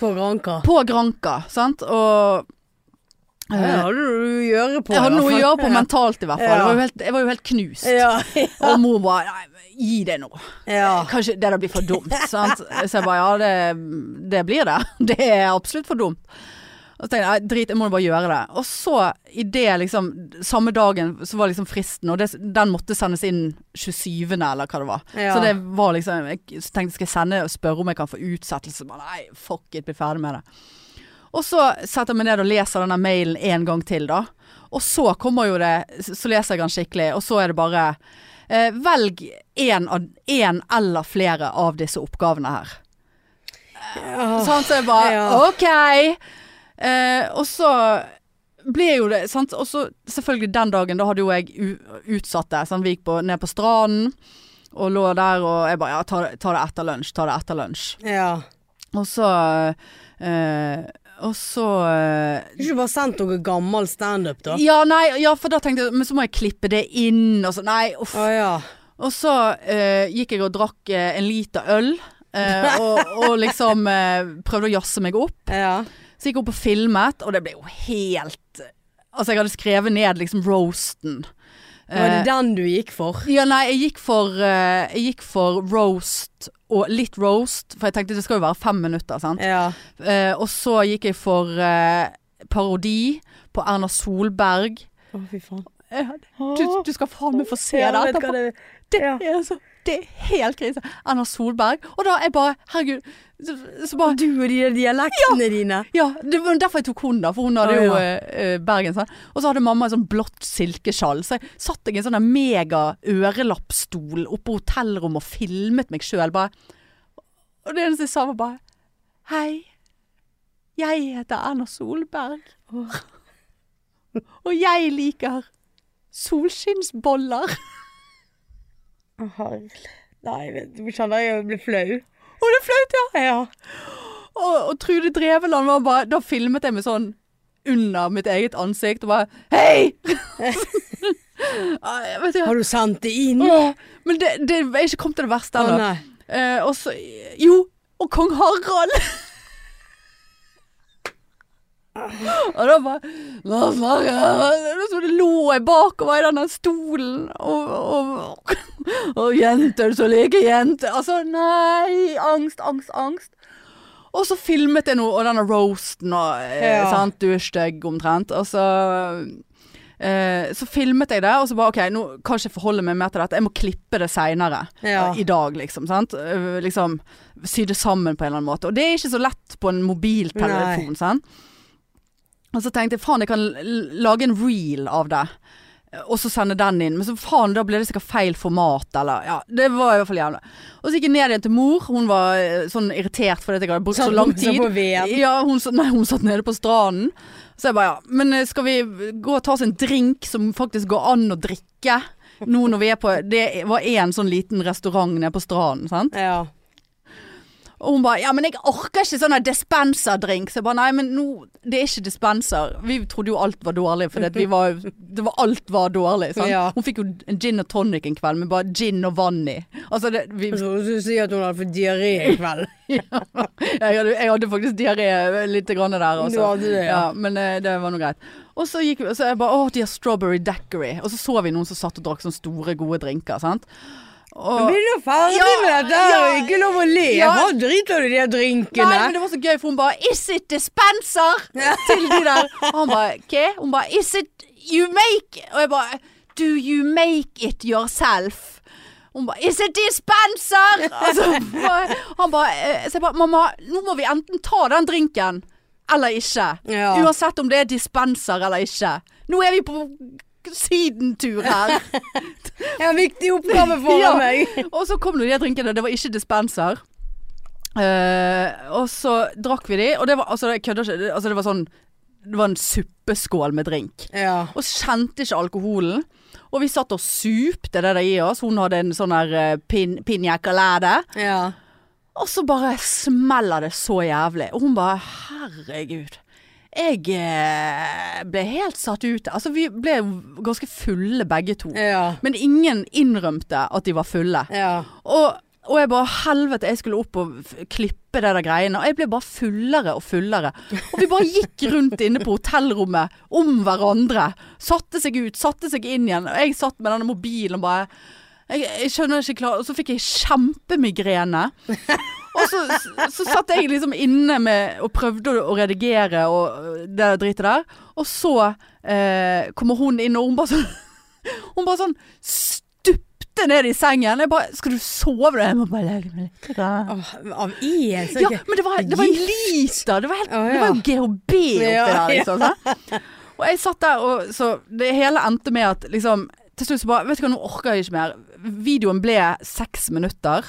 På Granka. På Granka, sant? Og eh, Ja, det hadde du noe å gjøre på. jeg hadde noe å gjøre på men mentalt i hvert fall. Ja. Jeg, var jo helt, jeg var jo helt knust. Ja. Og mor bare Nei, gi det nå. ja. Kanskje det der blir for dumt. Sant? Så jeg bare ja, det, det blir det. Det er absolutt for dumt. Og så tenkte jeg nei, drit, jeg må bare gjøre det. Og så i det liksom Samme dagen så var liksom fristen, og det, den måtte sendes inn 27. eller hva det var. Ja. Så det var liksom Jeg tenkte skal jeg sende og spørre om jeg kan få utsettelse. Men nei, fuck it, bli ferdig med det. Og så setter jeg meg ned og leser denne mailen en gang til, da. Og så kommer jo det Så leser jeg den skikkelig, og så er det bare eh, Velg én av- én eller flere av disse oppgavene her. Ja. Sånn, så jeg bare Ja. OK. Eh, og så ble jo det sant? Og så selvfølgelig den dagen, da hadde jo jeg u utsatt det. Sant? Vi gikk på, ned på stranden og lå der, og jeg bare ja, ta, det- ta det etter lunsj, ta det etter lunsj. ja. Og så eh, Og så eh, Kunne ikke du bare sendt noe gammel standup, da? ja, nei, ja, for da tenkte jeg Men så må jeg klippe det inn og så Nei, uff. Å ja. Og så eh, gikk jeg og drakk eh, en liter øl eh, og, og liksom eh, prøvde å jazze meg opp ja. Så gikk jeg opp og filmet, og det ble jo helt Altså, jeg hadde skrevet ned liksom roasten. Var det Eh, den du gikk for? ja, nei, jeg gikk for eh, Jeg gikk for roast og litt roast, for jeg tenkte det skal jo være fem minutter, sant. Ja. Eh, og så gikk jeg for eh, parodi på Erna Solberg. Å, fy faen. Eh, Du, du skal faen meg få se det Ja, vet etterpå. hva det Det Ja. er så Det er helt krise. Erna Solberg. Og da er jeg bare Herregud. Så, så bare Du og de der dialektene dine. Ja, det var derfor jeg tok hun da, for hun hadde Å, jo ja. eh, eh, Bergen sånn. Og så hadde mamma en sånn blått silkesjal, så jeg satt jeg i en sånn der mega ørelappstol oppe på hotellrommet og filmet meg sjøl bare. Og det eneste jeg sa var bare Hei, jeg heter Erna Solberg. Og jeg liker solskinnsboller. Nei, vet du, kjenner jeg blir flau. Og det er flaut, ja. Ja. Og, og Trude Dreveland var bare Da filmet jeg meg sånn under mitt eget ansikt og bare Hei! Ah, jeg vet ikke. Har du sendt det inn? Åh, Men det, det jeg er ikke kommet til det verste Å, ennå. nei. Eh, og så Jo! Og kong Harald! Ah. og da bare «Hva snakker jeg om?» Så det lå jeg bakover i den der stolen. Og, og, og jenter så liker jenter. Altså, nei! Angst, angst, angst. Og så filmet jeg noe, og denne roasten og eh, Ja. sant, Du er stygg, omtrent. Og så eh, Så filmet jeg det, og så bare OK, nå kan jeg ikke forholde meg mer til dette. Jeg må klippe det seinere. Ja. I dag, liksom. Sant? Eh, Liksom sy det sammen på en eller annen måte. Og det er ikke så lett på en mobiltelefon, sant. Og så tenkte jeg faen, jeg kan l- lage en reel av det. Eh, Og så sende den inn. Men så faen, da ble det sikkert feil format, eller Ja, det var i hvert fall jævlig. Og så gikk jeg ned igjen til mor. Hun var eh, sånn irritert fordi at jeg hadde brukt så Satt lang hun tid. på VM? Ja, hun, satt- nei, hun satt nede på stranden. Så jeg bare ja, men eh, skal vi gå og ta oss en drink som faktisk går an å drikke? Nå når vi er på Det var én sånn liten restaurant nede på stranden, sant. Ja. Og hun bare 'ja, men jeg orker ikke sånn dispenserdrink'. Så jeg bare 'nei, men nå Det er ikke dispenser. Vi trodde jo alt var dårlig, for det, vi var, det var alt var dårlig. Sant? Ja. Hun fikk jo en gin og tonic en kveld med bare gin og vann i. Altså, det, vi, Så Du sier at hun hadde fått diaré i kveld. jeg, hadde, jeg hadde faktisk diaré lite grann der. Også. Du hadde det, ja. Men eh, det var nå greit. Og så gikk vi, og så jeg bare 'å, de har strawberry daiquiri'. Og så så vi noen som satt og drakk sånne store, gode drinker. Sant? Og, Blir du ferdig Ja, med dette? her, og ja. Ikke lov å le. Ja. Hva driter du i de her drinkene? Nei, men det var så gøy, for hun bare 'Is it dispenser?' til de der. Og han bare 'Hva?' Hun bare 'Is it you make?' Og jeg bare 'Do you make it yourself?' Hun bare 'Is it dispenser?' Altså, bare- han bare eh, Så jeg bare 'Mamma, nå må vi enten ta den drinken eller ikke. Ja. Uansett om det er dispenser eller ikke. Nå er vi på sydentur her. Jeg har en viktig oppgave foran Ja. meg. Og så kom nå de drinkene, det var ikke dispenser. Eh, og så drakk vi de, og det var, altså, jeg kødder ikke, det- altså, det var sånn Det var en suppeskål med drink. Ja. Og kjente ikke alkoholen. Og vi satt og supte det der i oss. Hun hadde en sånn her eh, pin, piña colada. ja. Og så bare smeller det så jævlig. Og hun bare Herregud. Jeg eh, ble helt satt ut. Altså, vi ble jo ganske fulle begge to. Ja. Men ingen innrømte at de var fulle. ja. Og, og jeg bare helvete, jeg skulle opp og f- klippe det der greiene. Og jeg ble bare fullere og fullere. Og vi bare gikk rundt inne på hotellrommet om hverandre. Satte seg ut, satte seg inn igjen. Og jeg satt med denne mobilen og bare jeg, jeg skjønner ikke klar Og så fikk jeg kjempemigrene. Og så, så, så satt jeg liksom inne med og prøvde å, å redigere og øh, det der dritet der. Og så eh, kommer hun inn, og hun bare sånn Hun bare sånn stupte ned i sengen. Jeg bare 'Skal du sove?' Jeg må bare legge meg litt. grann». Av, av én, så Ja, ikke men det var, det var en liter. Det var, helt, Å, det var jo GHB oppi Ja, der, liksom. sant? Og jeg satt der, og så Det hele endte med at liksom Til slutt så bare Vet du hva, nå orker jeg ikke mer. Videoen ble seks minutter.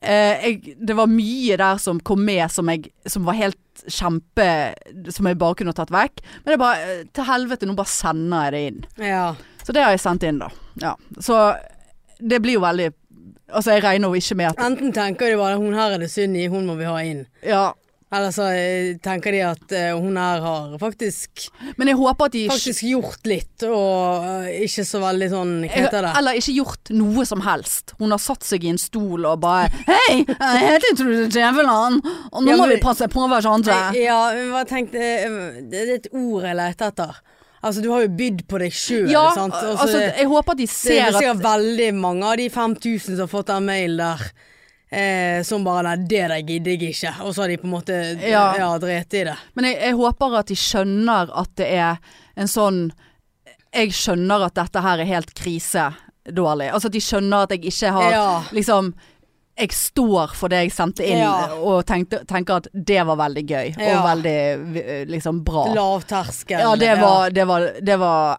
Eh, jeg, det var mye der som kom med som, jeg, som var helt kjempe Som jeg bare kunne tatt vekk. Men det er bare eh, Til helvete, nå bare sender jeg det inn. Ja. Så det har jeg sendt inn, da. Ja. Så det blir jo veldig Altså, jeg regner jo ikke med at Enten tenker de bare hun her er det synd i, hun må vi ha inn. Ja. Eller så eh, tenker de at eh, hun her har faktisk, Men jeg håper at de ikke faktisk gjort litt, og eh, ikke så veldig sånn Hva heter det? Eller ikke gjort noe som helst. Hun har satt seg i en stol og bare Hei, jeg heter Trude Drevland, og nå Ja, må men- vi passe på hverandre. Ja, men hva tenkte eh, Det er et ord jeg leter etter. Altså, du har jo bydd på deg sjøl, Ja, sant. Og så- altså, jeg håper at de Det er ser at sikkert veldig mange av de 5000 som har fått den mailen der, eh, som bare Nei, det der gidder jeg ikke. Og så har de på en måte ja. Ja. drept i det. Men jeg, jeg håper at de skjønner at det er en sånn Jeg skjønner at dette her er helt krisedårlig. Altså at de skjønner at jeg ikke har Ja. liksom jeg står for det jeg sendte inn, Ja. og tenkte, tenker at det var veldig gøy. Og Ja. veldig eh, liksom bra. Lavterskel. Ja, det var, det var, det var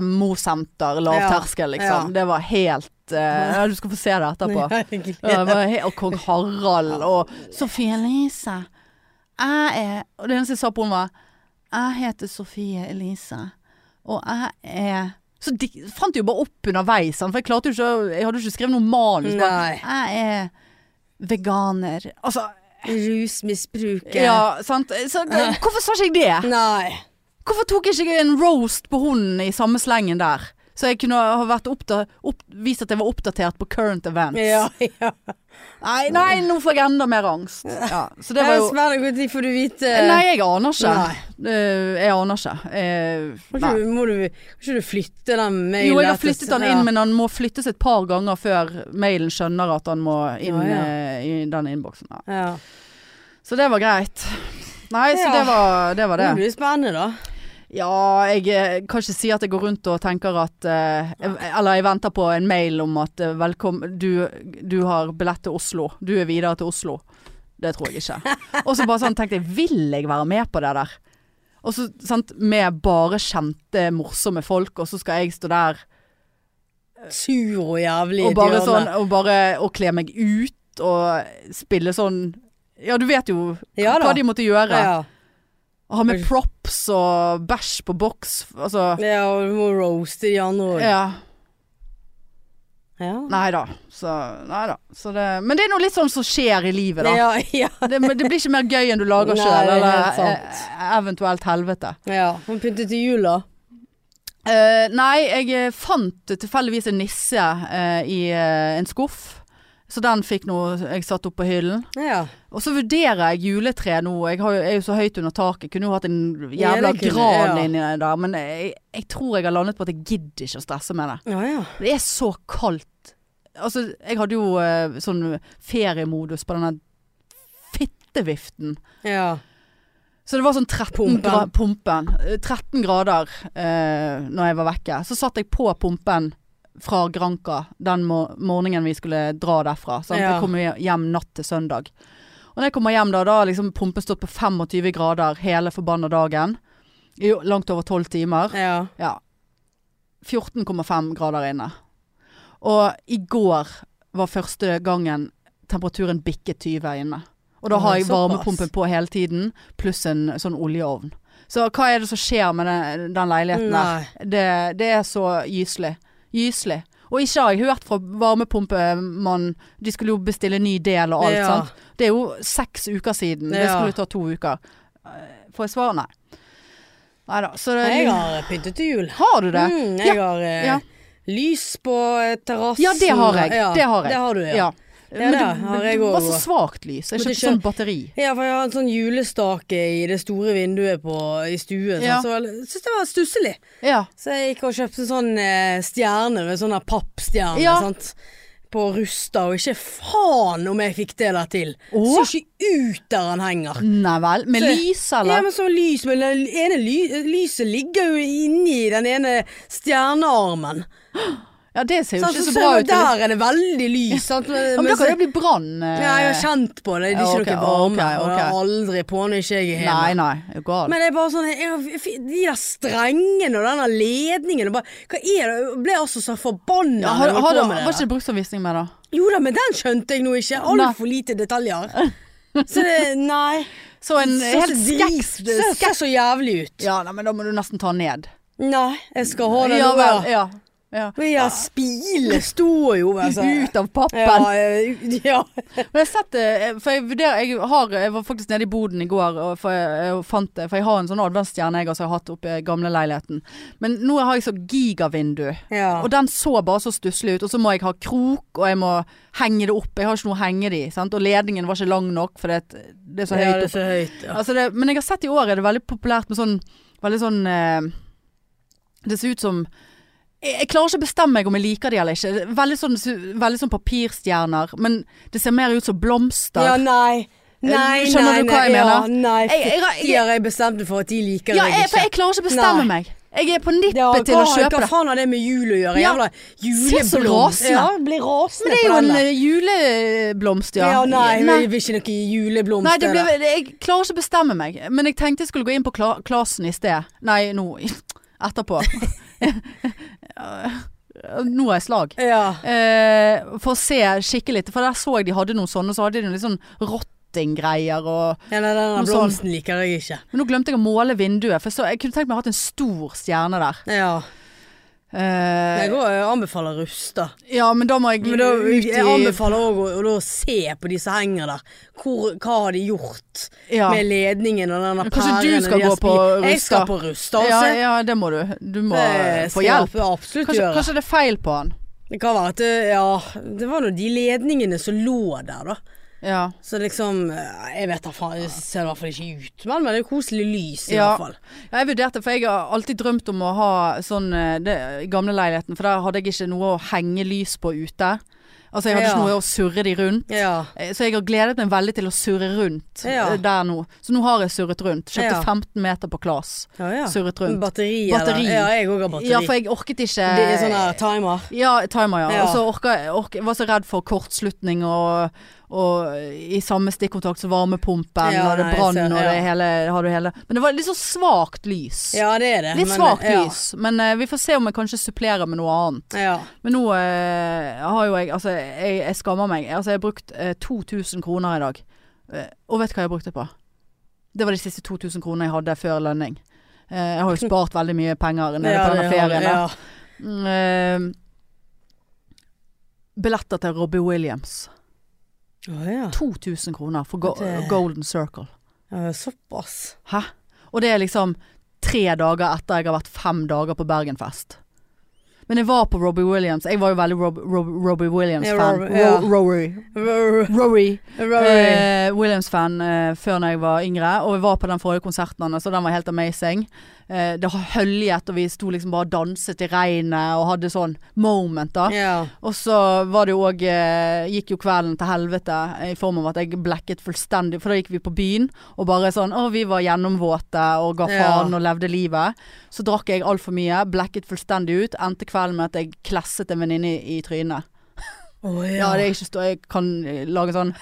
MO-senter, lavterskel, Ja, liksom. ja. Det var helt eh, ja, Du skal få se det etterpå. Ja, det var he- og kong Harald og Sofie Elise. Jeg er Og det eneste jeg sa på henne, var Jeg heter Sofie Elise, og jeg er Så de fant jeg jo bare opp underveis, sant, for jeg klarte jo ikke å- Jeg hadde jo ikke skrevet noe manus. bare, Nei. Jeg er veganer. Altså Rusmisbruket. Ja, sant. Så, hvorfor sa ikke jeg det? Nei. Hvorfor tok jeg ikke en roast på hunden i samme slengen der? Så jeg kunne ha vært oppda opp vist at jeg var oppdatert på current events. Ja, ja. Nei, nei, nå får jeg enda mer angst. Ja, så det Det var jo Sverre, når får du vite Nei, jeg aner ikke. eh, Nei. Eh, jeg aner ikke. Eh, Må nei. ikke, du- må du, må ikke du flytte den mailen? Jo, jeg har etter- flyttet han inn, men han må flyttes et par ganger før mailen skjønner at han må inn Ja, ja. eh, i den innboksen. Ja. ja. Så det var greit. Nei, så Ja. det var det. Var Det det. blir spennende, da. Ja, jeg eh, kan ikke si at jeg går rundt og tenker at eh, jeg- Eller jeg venter på en mail om at eh, velkom, du, du har billett til Oslo. Du er videre til Oslo. Det tror jeg ikke. Og så bare sånn tenkte jeg, vil jeg være med på det der? Og så, sant, med bare kjente, morsomme folk, og så skal jeg stå der Sur og jævlig. i og et bare hjørne. sånn Og bare og kle meg ut og spille sånn Ja, du vet jo Ja da. hva de måtte gjøre. ja. Ha med props og bæsj på boks. Altså ja, og du må roaste de andre òg. Ja. Ja. Nei da. Så, nei da. Så det, men det er noe litt sånn som skjer i livet, da. Ja, ja. Det, men det blir ikke mer gøy enn du lager Nei, sjøl, det er helt eller sant. eh, eventuelt helvete. ja. Hun pyntet til jul, da. Eh, nei, jeg eh, fant tilfeldigvis en nisse eh, i eh, en skuff. Så den fikk nå jeg satt opp på hyllen. Ja. Og så vurderer jeg juletre nå. Jeg har, jo- er jo så høyt under taket. Kunne jo hatt en jævla Ja, det kunne- gran ja. inni der. Men jeg, jeg tror jeg har landet på at jeg gidder ikke å stresse med det. Ja, ja. Det er så kaldt. Altså, jeg hadde jo eh, sånn feriemodus på denne fitteviften. ja. Så det var sånn 13 Pumpen. Gra pumpen. Eh, 13 grader eh, når jeg var vekke. Så satt jeg på pumpen fra Granca den mor morgenen vi skulle dra derfra. Sant? Ja. Jeg kom jo hjem natt til søndag. Og når jeg kommer hjem da, da har liksom pumpen stått på 25 grader hele forbanna dagen. I langt over 12 timer. ja. Ja. 14,5 grader inne. Og i går var første gangen temperaturen bikket 20 inne. Og da Å, har jeg såpass. varmepumpen på hele tiden, pluss en sånn oljeovn. Så hva er det som skjer med den, den leiligheten der? Nei. Det, det er så gyselig. Gyselig. Og ikke har jeg hørt fra varmepumpemannen De skulle jo bestille ny del og alt, Ja. sant. Det er jo seks uker siden. Det Ja. skulle ta to uker. Eh, Får jeg svar? Nei. Nei da. Så det, Jeg har pyntet til jul. har du det? Mm, jeg har eh, ja. lys på eh, terrassen. Ja, det har jeg. Ja, Det har jeg. Det har du, ja. Ja. Men det det, har jeg det var også. så svakt lys. Jeg Måtte kjøpte kjø- sånn batteri. Ja, for jeg har en sånn julestake i det store vinduet på, i stuen. Ja. sånn, Så jeg syntes det var stusslig. Ja. Så jeg gikk og kjøpte en sånn eh, stjerne med sånn der pappstjerne, Ja. sant. På Rusta, og ikke faen om jeg fikk det der til. Åh? Så ikke ut der han henger. Nei vel. Med Så- lys, Ja, eller? men så lys, men den ene ly lyset ligger jo inni den ene stjernearmen. Ja, det ser jo Sant, ikke så så sånn ser bra du, ut. eller? Der er det veldig lys. Sant? Men, Ja, men da kan det bli brann. eh. ja, jeg har kjent på det. Ja, Det er ikke ok, noe varme. ok, Og det er ok. aldri på når ikke jeg er hjemme. Nei, nei. Er du gal? Men det er bare sånn jeg, jeg, fi- De der strengene og denne ledningen og bare, Hva er det? Jeg ble altså så forbanna. Ja, når har, jeg holdt har, på du- med det var der. ikke det bruksanvisning med, da? Jo da, men den skjønte jeg nå ikke. Nei. Altfor lite detaljer. Så det Nei. Så en Så helt så skeks drit- Ser ser så jævlig ut. Ja, nei, men da må du nesten ta ned. Nei, jeg skal ha det Ja nå. vel. ja. Ja. ja. Men ja, spilet står jo altså. Ut av pappen. Ja, eh, ja. Men jeg har sett det, eh, for jeg vurderer jeg, har, jeg var faktisk nede i boden i går og for jeg, jeg fant det. For jeg har en sånn adventsstjerne jeg også har hatt oppe i gamle leiligheten. Men nå har jeg så gigavindu. ja. Og den så bare så stusslig ut. Og så må jeg ha krok, og jeg må henge det opp. Jeg har ikke noe å henge det i. Sant? Og ledningen var ikke lang nok, for det, det er så Ja, høyt det er opp. så høyt. Ja. Altså det, men jeg har sett i år er det veldig populært med sånn Veldig sånn eh, Det ser ut som jeg, jeg klarer ikke å bestemme meg om jeg liker de eller ikke. Det er Veldig sånn, veldig sånn papirstjerner, men det ser mer ut som blomster. Ja, Eh, nei. Nei, Skjønner nei, du hva jeg nei, ja, mener? Nei, Jeg- jeg- fytti jeg- har jeg bestemt meg for at de liker Ja, deg jeg, ikke. for jeg klarer ikke å bestemme Nei. meg. Jeg er på nippet Ja, til å hva- kjøpe Hva det. faen har det med jul å gjøre? Ja. Jævla Se så juleblomst. rasende. Ja, blir rasende Men det er på jo den en der. eh, juleblomst, ja. Ja, nei, Nei. vi vil ikke noe juleblomst. Nei, det ble, er det. jeg klarer ikke å bestemme meg. Men jeg tenkte jeg skulle gå inn på Kla Klasen i sted. Nei, nå. Etterpå. nå er jeg slag. Ja. Eh, for å se skikkelig. For der så jeg de hadde noen sånne, så hadde de noen litt sånn rottinggreier og ja, nei, den Noe der sånn. blomsten liker jeg ikke. Men nå glemte jeg å måle vinduet, for jeg, så, jeg kunne tenkt meg å ha hatt en stor stjerne der. Ja. Jeg Eh, går, jeg anbefaler Rusta. ja, men da må jeg Men da, ut i jeg anbefaler òg å, å da se på de som henger der. Hvor, hva har de gjort Ja. med ledningen og den der Kanskje du pæren skal de har gå på spi- Jeg Rusta. skal på Rusta. ja, altså. ja, det må du. Du må eh, Det få skal jeg hjelp. Absolutt Kanskje, gjøre. kanskje det er feil på han. Det kan være at det, ja, det var nå de ledningene som lå der, da. Ja. Så liksom eh, Jeg vet da faen, det ser i hvert fall ikke ut, men, men det er koselig lys i Ja. hvert fall. Ja, Jeg vurderte, for jeg har alltid drømt om å ha sånn eh, det, i gamle leiligheten, for der hadde jeg ikke noe å henge lys på ute. Altså jeg hadde Ja. ikke noe å surre de rundt. Ja. Eh, Så jeg har gledet meg veldig til å surre rundt Ja. eh, der nå. Så nå har jeg surret rundt. Kjøpte Ja. 15 meter på Klas. ja, ja. Surret rundt. Batteri, Batteri. eller? Ja, jeg òg har batteri. Ja, for jeg orket ikke det er sånn her timer. Ja, timer, ja. Ja. Og så orka jeg ork, jeg var så redd for kortslutning og, og i samme stikkontakt så varmepumpen, Ja, og det nei, jeg brann, ser- og det ja. hele, har du hele Men det var litt så svakt lys. Ja, det er det. Litt men- svakt ja. lys, men eh, vi får se om jeg kanskje supplerer med noe annet. Ja. Men nå eh, har jo jeg Altså, jeg, jeg skammer meg. Altså, jeg har brukt eh, 2000 kroner i dag. Eh, og vet du hva jeg har brukt det på? Det var de siste 2000 kronene jeg hadde før lønning. Eh, jeg har jo spart veldig mye penger nede Ja, på det denne har- ferien. da. ja. Mm, eh, billetter til Robbie Williams. Å ja. 2000 kroner for go Det- Golden Circle. ja. Såpass. Hæ? Og det er liksom tre dager etter jeg har vært fem dager på Bergenfest. Men jeg var på Robbie Williams. Jeg var jo veldig Rob, Rob, Robbie Williams-fan. Ja, Rob- ja. Ro- Rory. Rory. Eh, Williams-fan eh, før når jeg var yngre, og jeg var på den forrige konserten hans, og den var helt amazing. Eh, det har høljet, og vi sto liksom bare og danset i regnet og hadde sånn moment, da. Ja. Og så var det jo òg eh, Gikk jo kvelden til helvete eh, i form av at jeg blekket fullstendig. For da gikk vi på byen og bare sånn Å, vi var gjennomvåte og ga Ja. faen og levde livet. Så drakk jeg altfor mye, blekket fullstendig ut. Endte kvelden med at jeg klesset en venninne i, i trynet. Å Ja, ja. det er ikke stå, Jeg kan eh, lage sånn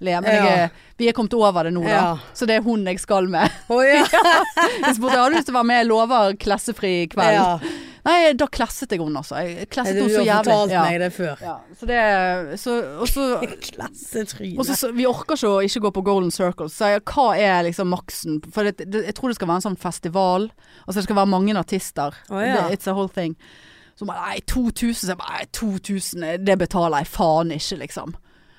le, men jeg, Ja. er- vi er kommet over det nå, da. Ja. Så det er hun jeg skal med. Å ja. Jeg spurte har du lyst til å være med, jeg lover klessefri kveld. Ja. Nei, da klasset jeg henne, altså. Jeg Du klasset henne så jævlig. har fortalt Ja. meg det før. Ja, så det så, Og så og så- Klassetryne. så, vi orker ikke å ikke gå på Golden Circle, så jeg, hva er liksom maksen? For det, det, jeg tror det skal være en sånn festival. Altså det skal være mange artister. Å, ja. det, it's a whole thing. Så bare, nei, 2000, så jeg bare, nei, 2000, det betaler jeg faen ikke, liksom.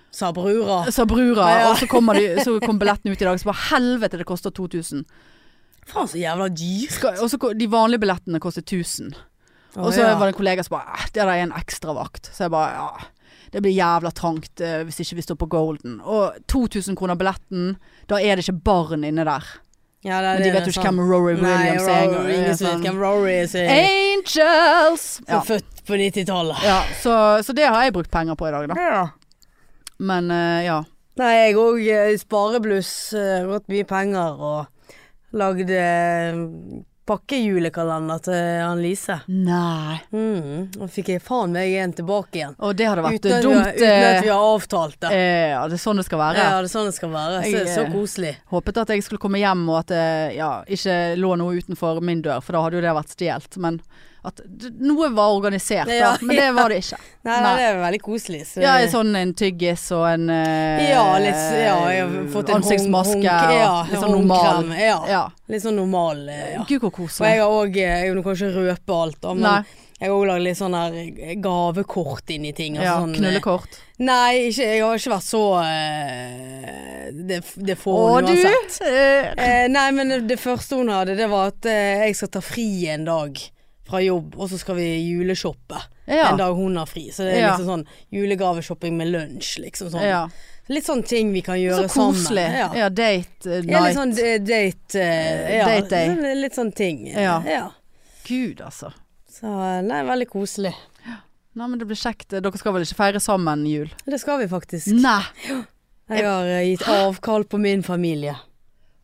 Sa brura. Så Brura, Ja, ja. og så, kommer de, så kom billetten ut i dag, så bare helvete, det koster 2000. Faen, så jævla dyrt. Skal, og så ko- de vanlige billettene koster 1000. Og så var det en kollega som bare "Eh, Det der er en ekstravakt. Så jeg bare ja. Det blir jævla trangt eh, hvis ikke vi står på Golden. Og 2000 kroner billetten, da er det ikke barn inne der. ja, det, Men de vet jo ikke hvem Rory Williams Nei, er. Rory, ingen som Sånn, vet hvem Rory er. som er- Angels! som Ja, er Født på 90-tallet. ja så, så det har jeg brukt penger på i dag, da. Ja. Men eh, ja. Nei, jeg òg sparebluss. eh, Gått mye penger og lagd eh, pakkejulekalender til Anne Lise. Nei. Mm, og fikk jeg faen meg en tilbake igjen. Og det hadde vært Uten at, vi, har- dumt. uten at eh, vi har avtalt det. eh, Ja, det er sånn det skal være. Ja, det er sånn det skal være. Så, Jeg, så eh, koselig. Håpet at jeg skulle komme hjem og at det ja, ikke lå noe utenfor min dør, for da hadde jo det vært stjålet. Men at d- noe var organisert, da. Ja, Men det var det ikke. Nei, nei, det er veldig koselig. Så, Ja, en sånn en tyggis og en eh, Ja, litt s- ja, jeg har fått en hånd- ansiktsmaske. håndk- ja, og litt sånn normal. håndkrem, ja. Ja. Litt sånn normal, eh, ja. Gud, hvor Og jeg koselig. har òg Jeg nå kan ikke røpe alt, da, men Nei. jeg har òg lagd litt sånn her gavekort inn i ting. Ja, sånn, eh, knullekort. Nei, ikke, jeg har ikke vært så eh, Det, det får Å, hun du! uansett. eh, Eh, nei, men det første hun hadde, det var at eh, jeg skal ta fri en dag fra jobb, og så skal vi juleshoppe. Ja. En dag hun har fri. Så det er Ja. liksom sånn julegaveshopping med lunsj, liksom sånn. Ja. Litt sånn ting vi kan Så gjøre koselig. sammen. Ja, date eh, Ja, night. litt sånn eh, date eh, ja, Date day. sånn- Litt sånn ting. eh, Ja. Gud, altså. Så eh, nei, veldig koselig. Nei, men det blir kjekt. Dere skal vel ikke feire sammen jul? Det skal vi faktisk. Nei. Jeg har eh, gitt avkall på min familie.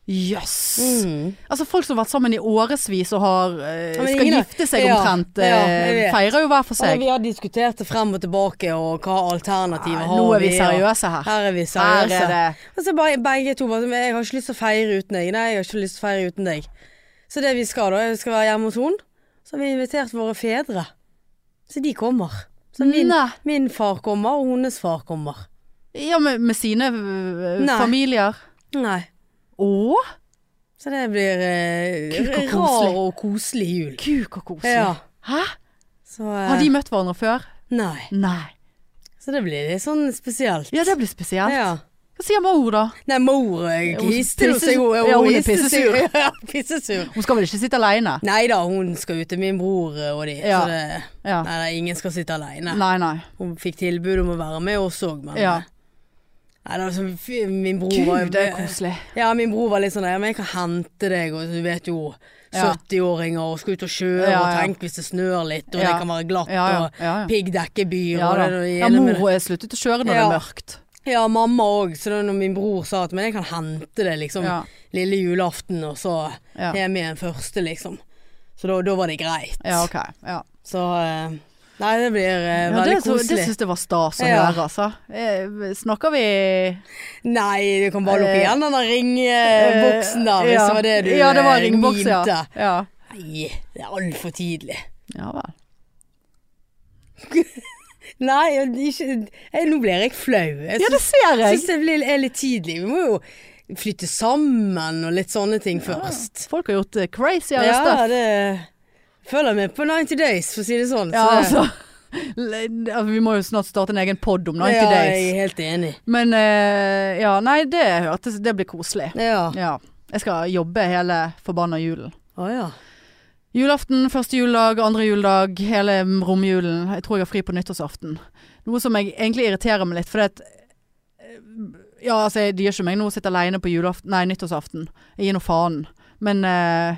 Jøss. Yes. Mm. Altså Folk som har vært sammen i årevis og har, eh, Ja, men skal ingen er- gifte seg Ja, omtrent, eh, ja, jeg vet. feirer jo hver for Ja, seg. men vi har diskutert det frem og tilbake, og hva alternativet Nei, har nå er vi og- seriøse her. Her er vi Her seriøse. er det Og så bare begge to bare sånn, Jeg har ikke lyst til å feire uten deg. Nei, jeg har ikke lyst til å feire uten deg. Så det vi skal da, jeg skal være hjemme hos hun. Så har vi invitert våre fedre. Så de kommer. Så min, Nei. min far kommer, og hennes far kommer. Ja, med, med sine øh, Nei. familier. Nei. Å, Så det blir eh, Gud, hvor koselig. rar og koselig jul. gud hvor koselig. Ja. Hæ? Så, eh, Har de møtt hverandre før? Nei. Nei. Så det blir litt sånn spesielt. Ja, det blir spesielt. Ja. Hva sier mor, da? Nei, mor eh, Hun histe jo pisse- seg hun- ja, hun er histe seg- pissesur. Ja, pissesur. Hun skal vel ikke sitte aleine? Nei da, hun skal ut til min bror eh, og de. Ja. Så det, Ja. nei, nei, ingen skal sitte alene. Nei, nei. Hun fikk tilbud om å være med oss òg, men Ja. Nei, det var sånn, fy- min bror var Gud, det er koselig. Ja, min bror var litt sånn Ja, men jeg kan hente deg, og du vet jo Ja. 70-åringer og skal ut og Ja, kjøre, ja. og tenk hvis det snør litt, og det Ja. kan være glatt, Ja, ja, og ja, ja. piggdekkebyr Ja, og da. det, og det ja hele med mor eh, sluttet å kjøre når det Ja. er mørkt. det. ja, mamma òg, så da når min bror sa at Men jeg kan hente deg, liksom, Ja. lille julaften, og så Ja. hjem igjen første, liksom. Så da, da var det greit. Ja, ok. Ja. Så eh, Nei, det blir eh, Ja, veldig det så- det koselig. syns jeg var stas å Ja. høre, altså. Eh, Snakker vi Nei, du kan bare lukke igjen den der ringboksen der, Eh, eh, hvis Ja. det var det du Ja, det var eh, ringboks, ja. mimte. ja. Nei, det er altfor tidlig. Ja vel. Nei, jeg- ikke jeg, Nå blir jeg flau. Jeg Ja, det syns- ser jeg. syns det blir, er litt tidlig. Vi må jo flytte sammen og litt sånne ting først. Folk har gjort eh, crazyere stuff. Ja, det følger med på 90 Days, for å si det sånn. Ja, så det- altså. Altså, Vi må jo snart starte en egen pod om 90 ja, jeg days. er helt enig. Men eh, ja, nei, det hørtes Det blir koselig. Ja. Ja. Jeg skal jobbe hele forbanna julen. Å ja. Julaften, første juledag, andre juledag, hele romjulen. Jeg tror jeg har fri på nyttårsaften. Noe som jeg egentlig irriterer meg litt, fordi at eh, Ja, altså, det gjør ikke meg noe å sitte aleine på julaften, nei, nyttårsaften. Jeg gir nå faen. Men eh,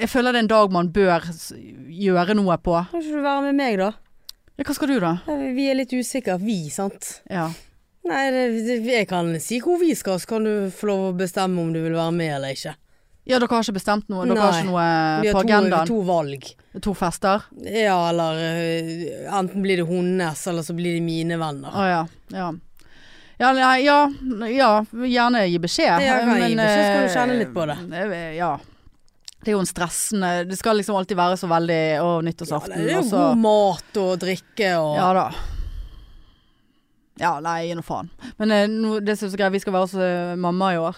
jeg føler det er en dag man bør s- gjøre noe på. Kan ikke du være med meg, da? Ja, hva skal du, da? Vi er litt usikre, vi, sant. Ja. Nei, det, det, jeg kan si hvor vi skal, så kan du få lov å bestemme om du vil være med eller ikke. ja, dere har ikke bestemt noe? Dere har Nei. ikke noe eh, Vi på har to, agendaen? to valg. To, fester? Ja, eller eh, enten blir det hennes, eller så blir det mine venner. Å ja. ja. Ja, nei, ja, ja, gjerne gi beskjed. Ja, kan jeg gi men, beskjed, så kan du eh, kjenne litt på eh, Ja. Det er jo en stressende Det skal liksom alltid være så veldig Å, nyttårsaften. det er jo og så- altså. god mat og drikke og Ja da. Ja, nei, gi nå faen. Men eh, nå, det som er så greit, vi skal være hos eh, mamma i år.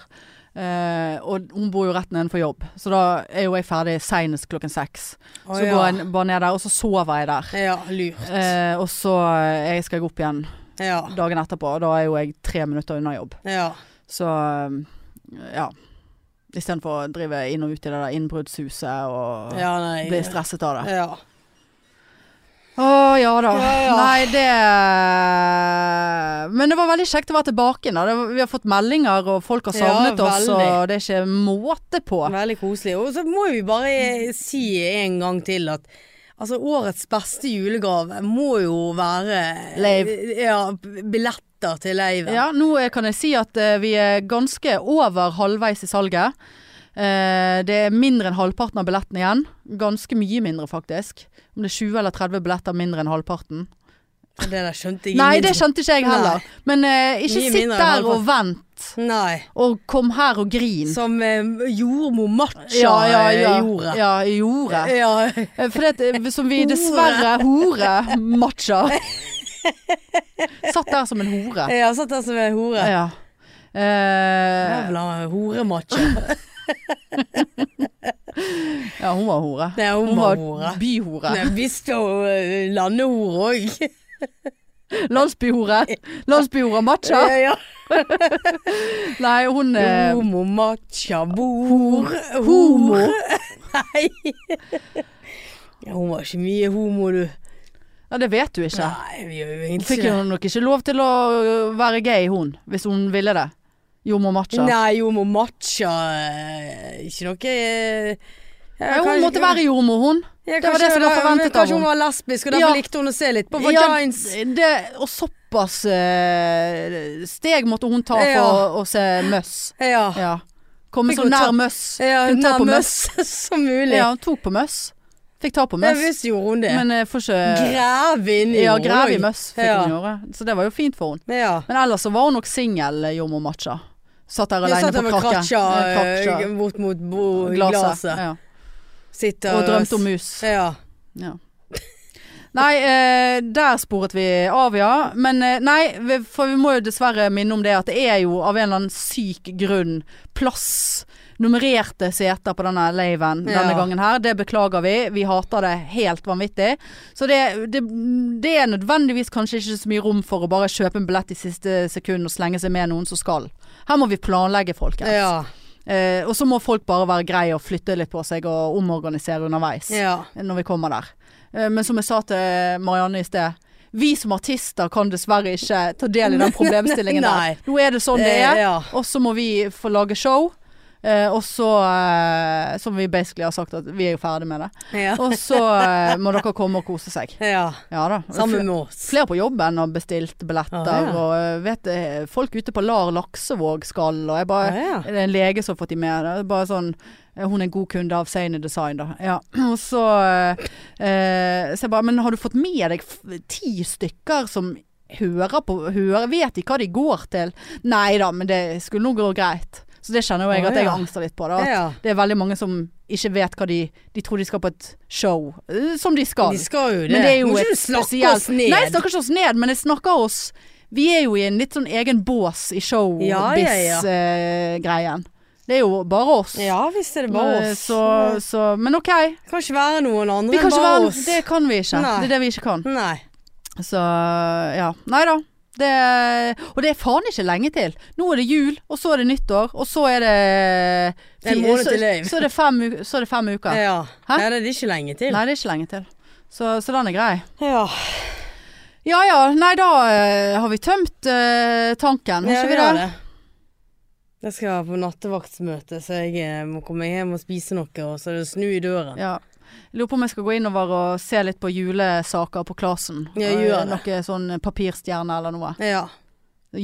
Eh, og hun bor jo rett nedenfor jobb, så da er jo jeg ferdig seinest klokken seks. Å, Så ja. går jeg bare ned der, og så sover jeg der. Ja, lurt. Eh, og så eh, skal jeg opp igjen Ja. dagen etterpå, og da er jo jeg tre minutter unna jobb. ja. Så eh, ja. Istedenfor å drive inn og ut i det der innbruddshuset og Ja, nei. bli stresset av det. Ja. Å ja da. Ja, ja. Nei, det Men det var veldig kjekt å være tilbake igjen. da. Det var- Vi har fått meldinger, og folk har Ja, savnet oss, veldig. og det er ikke måte på. Veldig koselig. Og så må vi bare si en gang til at altså, årets beste julegave må jo være Leiv. Ja, billetter til leiven. Ja, nå eh, kan jeg si at eh, vi er ganske over halvveis i salget. Eh, det er mindre enn halvparten av billettene igjen. Ganske mye mindre, faktisk. Om det er 20 eller 30 billetter mindre enn halvparten. Det der skjønte jeg Nei, ingenting. det skjønte ikke jeg heller. Men eh, ikke Mye sitt mindre enn der og halvparten. vent, Nei. og kom her og grin. Som eh, jordmor Matcha Ja, ja, ja. gjorde. Ja, gjorde. Ja. Eh, For det, at, eh, som vi dessverre hore matcher. Satt der som en hore. Jeg har satt der som en hore. Ja. Eh, Jævla horematcha. ja, hun var hore. Nei, hun Hun var var hore. byhore. Nei, Visst og eh, landehore òg. Landsbyhore. Landsbyhore matcha. Ja. Nei, hun eh, Homo matcha bor Homo. Nei. Ja, hun var ikke mye homo, du. Ja, det vet du ikke. Nei, vi gjør jo Hun egentlig fikk jo ikke det. nok ikke lov til å øh, være gay, hun. Hvis hun ville det. Jordmor matcha. Nei, homo matcha eh, Ikke noe eh, ja, Nei, hun kanskje- måtte være jordmor, hun. Ja, det var kanskje det som var forventet men av Kanskje hun henne. var lesbisk, og derfor Ja. likte hun å se litt på Ja, vagines. det, og såpass eh, steg måtte hun ta for Ja. å, å se møss. Ja. Ja. Komme Fikk så hun nær ta- møss. Ja, Kunne ta på møss. nærmest som mulig. Ja, hun tok på møss. Fikk ta på Jeg møss. visste gjorde hun det. Men eh, får ikke Grav inn i Ja, jorda. grev i møss fikk Ja. hun gjøre. Så det var jo fint for hun. Ja. Men ellers så var hun nok singel, eh, jordmor Matcha. Satt der Jeg aleine satt på der med krakken. kratja Ja, kratja. eh, bort mot bo, Glaset. glaset. Ja. Sitter Og drømte om mus. Ja. Ja. Nei, eh, der sporet vi av, ja. Men eh, nei, vi- for vi må jo dessverre minne om det at det er jo av en eller annen syk grunn plass. Nummererte seter på denne laven Ja. denne gangen her. Det beklager vi. Vi hater det helt vanvittig. Så det, det, det er nødvendigvis kanskje ikke så mye rom for å bare kjøpe en billett i siste sekund og slenge seg med noen som skal. Her må vi planlegge, folkens. Ja. Eh, og så må folk bare være greie og flytte litt på seg og omorganisere underveis ja. når vi kommer der. Eh, Men som jeg sa til Marianne i sted, vi som artister kan dessverre ikke ta del i den problemstillingen Nei. der. Nå er det sånn det Eh, er, ja. og så må vi få lage show. eh, Og så, eh, som vi basically har sagt at vi er jo ferdig med det. Ja. Og så eh, må dere komme og kose seg. ja. Ja da. Sammen med oss. Flere på jobben har bestilt billetter, Ah, ja. og eh, vet, eh, folk ute på LAR Laksevåg skal, og jeg bare Ah, ja. Det er en lege som har fått de med. Det er bare sånn eh, Hun er en god kunde av Seine Design, da. Ja. Og så eh, Så jeg bare Men har du fått med deg f- ti stykker som hører på hører, Vet de hva de går til? Nei da, men det skulle nå gå greit. Så det kjenner jo jeg Ah, at jeg ja. angster litt på. da. At Ja. Det er veldig mange som ikke vet hva de De tror de skal på et show, eh, som de skal. De skal jo det. Men det er jo Må ikke et du snakke spesielt- oss ned? Nei, jeg snakker ikke oss ned, men jeg snakker oss Vi er jo i en litt sånn egen bås i Ja, ja, ja. showbiz-greien. Det er jo bare oss. ja visst er det bare Eh, oss. Så, så, men OK. Det kan ikke være noen andre Vi kan enn ikke bare være oss. Det kan vi ikke. Nei. Det er det vi ikke kan. Nei. Så ja. Nei da. Det, og det er faen ikke lenge til. Nå er det jul, og så er det nyttår, og så er det En måned så, til liv. så, er det fem, u- så er det fem uker. Ja. Hæ? Nei, det er ikke lenge til. Nei, det er ikke lenge til. Så, så den er grei. Ja. Ja ja, nei da eh, har vi tømt eh, tanken, har Ja, ikke vi vi har det? det. Jeg skal på nattevaktsmøte, så jeg eh, må komme hjem og spise noe, og så er det snu i døren. Ja. Jeg lurer på om jeg skal gå innover og se litt på julesaker på Klasen. Ja, Eh, gjør det. Noe sånn papirstjerne eller noe. Ja.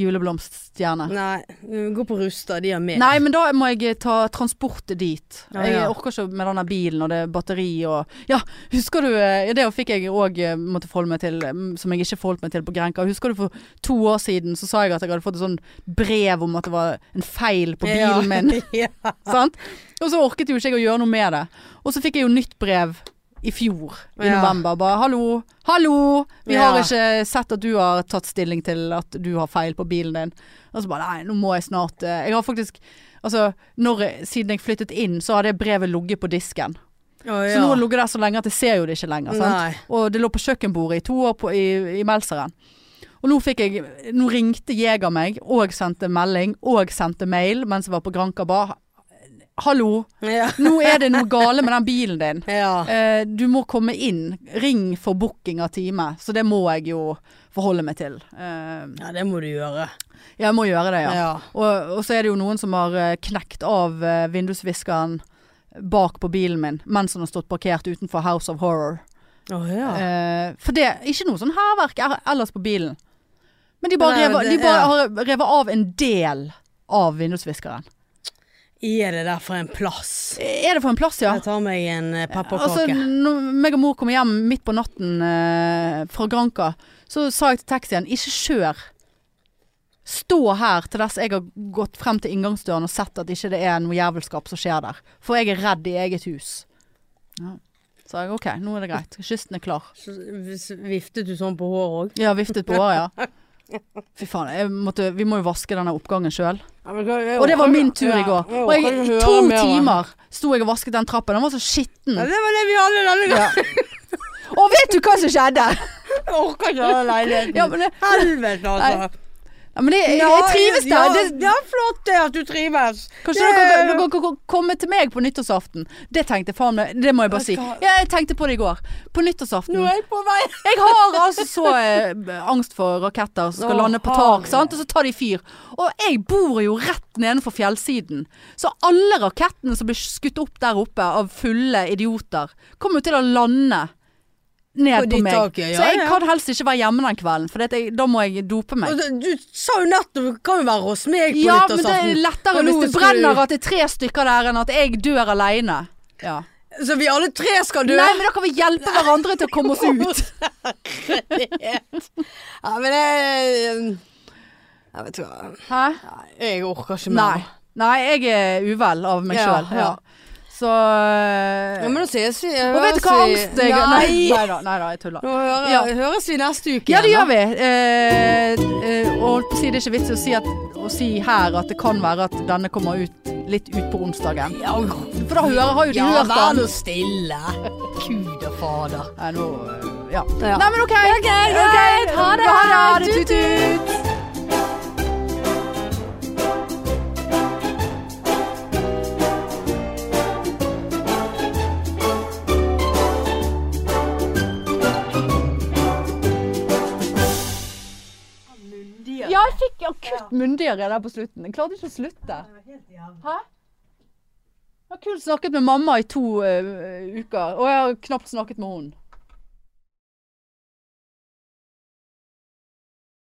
Juleblomststjerne. Nei, gå på Rustad, de har mer. Nei, men da må jeg eh, ta transport dit. Ja, ja. Jeg orker ikke med den der bilen og det er batteri og Ja, husker du eh, ja, Det fikk jeg òg eh, måtte forholde meg til, mm, som jeg ikke forholdt meg til på Grenka. Husker du for to år siden så sa jeg at jeg hadde fått et sånn brev om at det var en feil på bilen min. ja. sant? Og så orket jo ikke jeg å gjøre noe med det. Og så fikk jeg jo nytt brev i fjor, i Ja. november. Bare 'hallo, hallo, vi har Ja. ikke sett at du har tatt stilling til at du har feil på bilen din'. Og så bare 'nei, nå må jeg snart eh, Jeg har faktisk Altså, når, jeg- siden jeg flyttet inn, så har det brevet ligget på disken. Så Å, ja. nå har det ligget der så lenge at jeg ser jo det ikke lenger. Sant? Nei. Og det lå på kjøkkenbordet i to år på, i, i Melseren. Og nå, fikk jeg, nå ringte Jeger meg og sendte melding og sendte mail mens jeg var på Granka bar. Hallo, Ja. nå er det noe gale med den bilen din. ja. Eh, du må komme inn. Ring for booking av time. Så det må jeg jo forholde meg til. Eh, Ja, det må du gjøre. jeg må gjøre det, ja. Ja. Og, og så er det jo noen som har eh, knekt av eh, vindusviskeren bak på bilen min mens den har stått parkert utenfor House of Horror. Å ja. Eh, for det er ikke noe sånn hærverk er- ellers på bilen. Men de bare, Nei, men rever, de det- bare ja. har revet av en del av vindusviskeren. Er det der for en plass? Er det for en plass, ja? Jeg tar meg en eh, Altså, pepperkake. når meg og mor kom hjem midt på natten eh, fra Granka, så sa jeg til taxien ikke kjør. Stå her til dess jeg har gått frem til inngangsdøren og sett at ikke det er noe jævelskap som skjer der. For jeg er redd i eget hus. Ja. Så jeg OK, nå er det greit. Kysten er klar. Så s- Viftet du sånn på håret òg? Ja, viftet på håret, ja. Fy faen, jeg måtte, vi må jo vaske denne oppgangen sjøl. Og det var min tur i går. Og jeg, i to timer sto jeg og vasket den trappen. Den var så skitten. Ja, det var det vi hadde denne gangen. Ja. Og vet du hva som skjedde? Jeg orker ikke den leiligheten. Ja, men, det, Helvete, altså. ja, men det, jeg, jeg trives Ja, der. det Det, er flott det at du trives. kanskje dere kan, dere kan- kan komme til meg på nyttårsaften. Det tenkte jeg faen meg Det må jeg bare si. Ja, jeg tenkte på det i går. På Nå nyttårsaften. er jeg på vei. Jeg har altså så eh, angst for raketter som skal Å, lande på herre. tak, sant? og så tar de fyr. Og jeg bor jo rett nedenfor fjellsiden, så alle rakettene som blir skutt opp der oppe av fulle idioter, kommer jo til å lande På ned på, ditt meg. tak, ja, ja, så jeg ja. kan helst ikke være hjemme den kvelden, for det at jeg, da må jeg dope meg. Altså, Du sa jo nettopp det kan jo være hos meg på Ja, men det er nyttårsaften. lettere Og nå hvis det skal brenner du- at det er tre stykker der, enn at jeg dør aleine. Ja. Så vi alle tre skal dø. Nei, men da kan vi hjelpe hverandre til å komme oss ut. Ja, men det Jeg vet ikke hva. Hæ? Nei, Jeg orker ikke mer. Nei. Nei, jeg er uvel av meg Ja, sjøl. Ja, ja. Så Ja, men da ses vi. Og vet du hva angst jeg Nei, Nei. nei da, nei da, jeg tuller. Nå hører, Ja. høres vi neste uke. Ja, det gjør igjen, da. vi. Eh, eh, og holdt på å si, det er ikke vits i å si, at, å si her at det kan være at denne kommer ut litt utpå onsdagen. Ja, For da hører, har jo de ja, hørt vær den. nå stille. Gud og fader. Nei, nå, eh, ja. Ja. Nei, men OK. greit. Ok, Ha det. Ha det. Tut, Tut-tut. Ja, jeg fikk akutt munndiaré der på slutten. Jeg klarte ikke å slutte. Hæ? Jeg har kun snakket med mamma i to eh, uker, og jeg har knapt snakket med henne.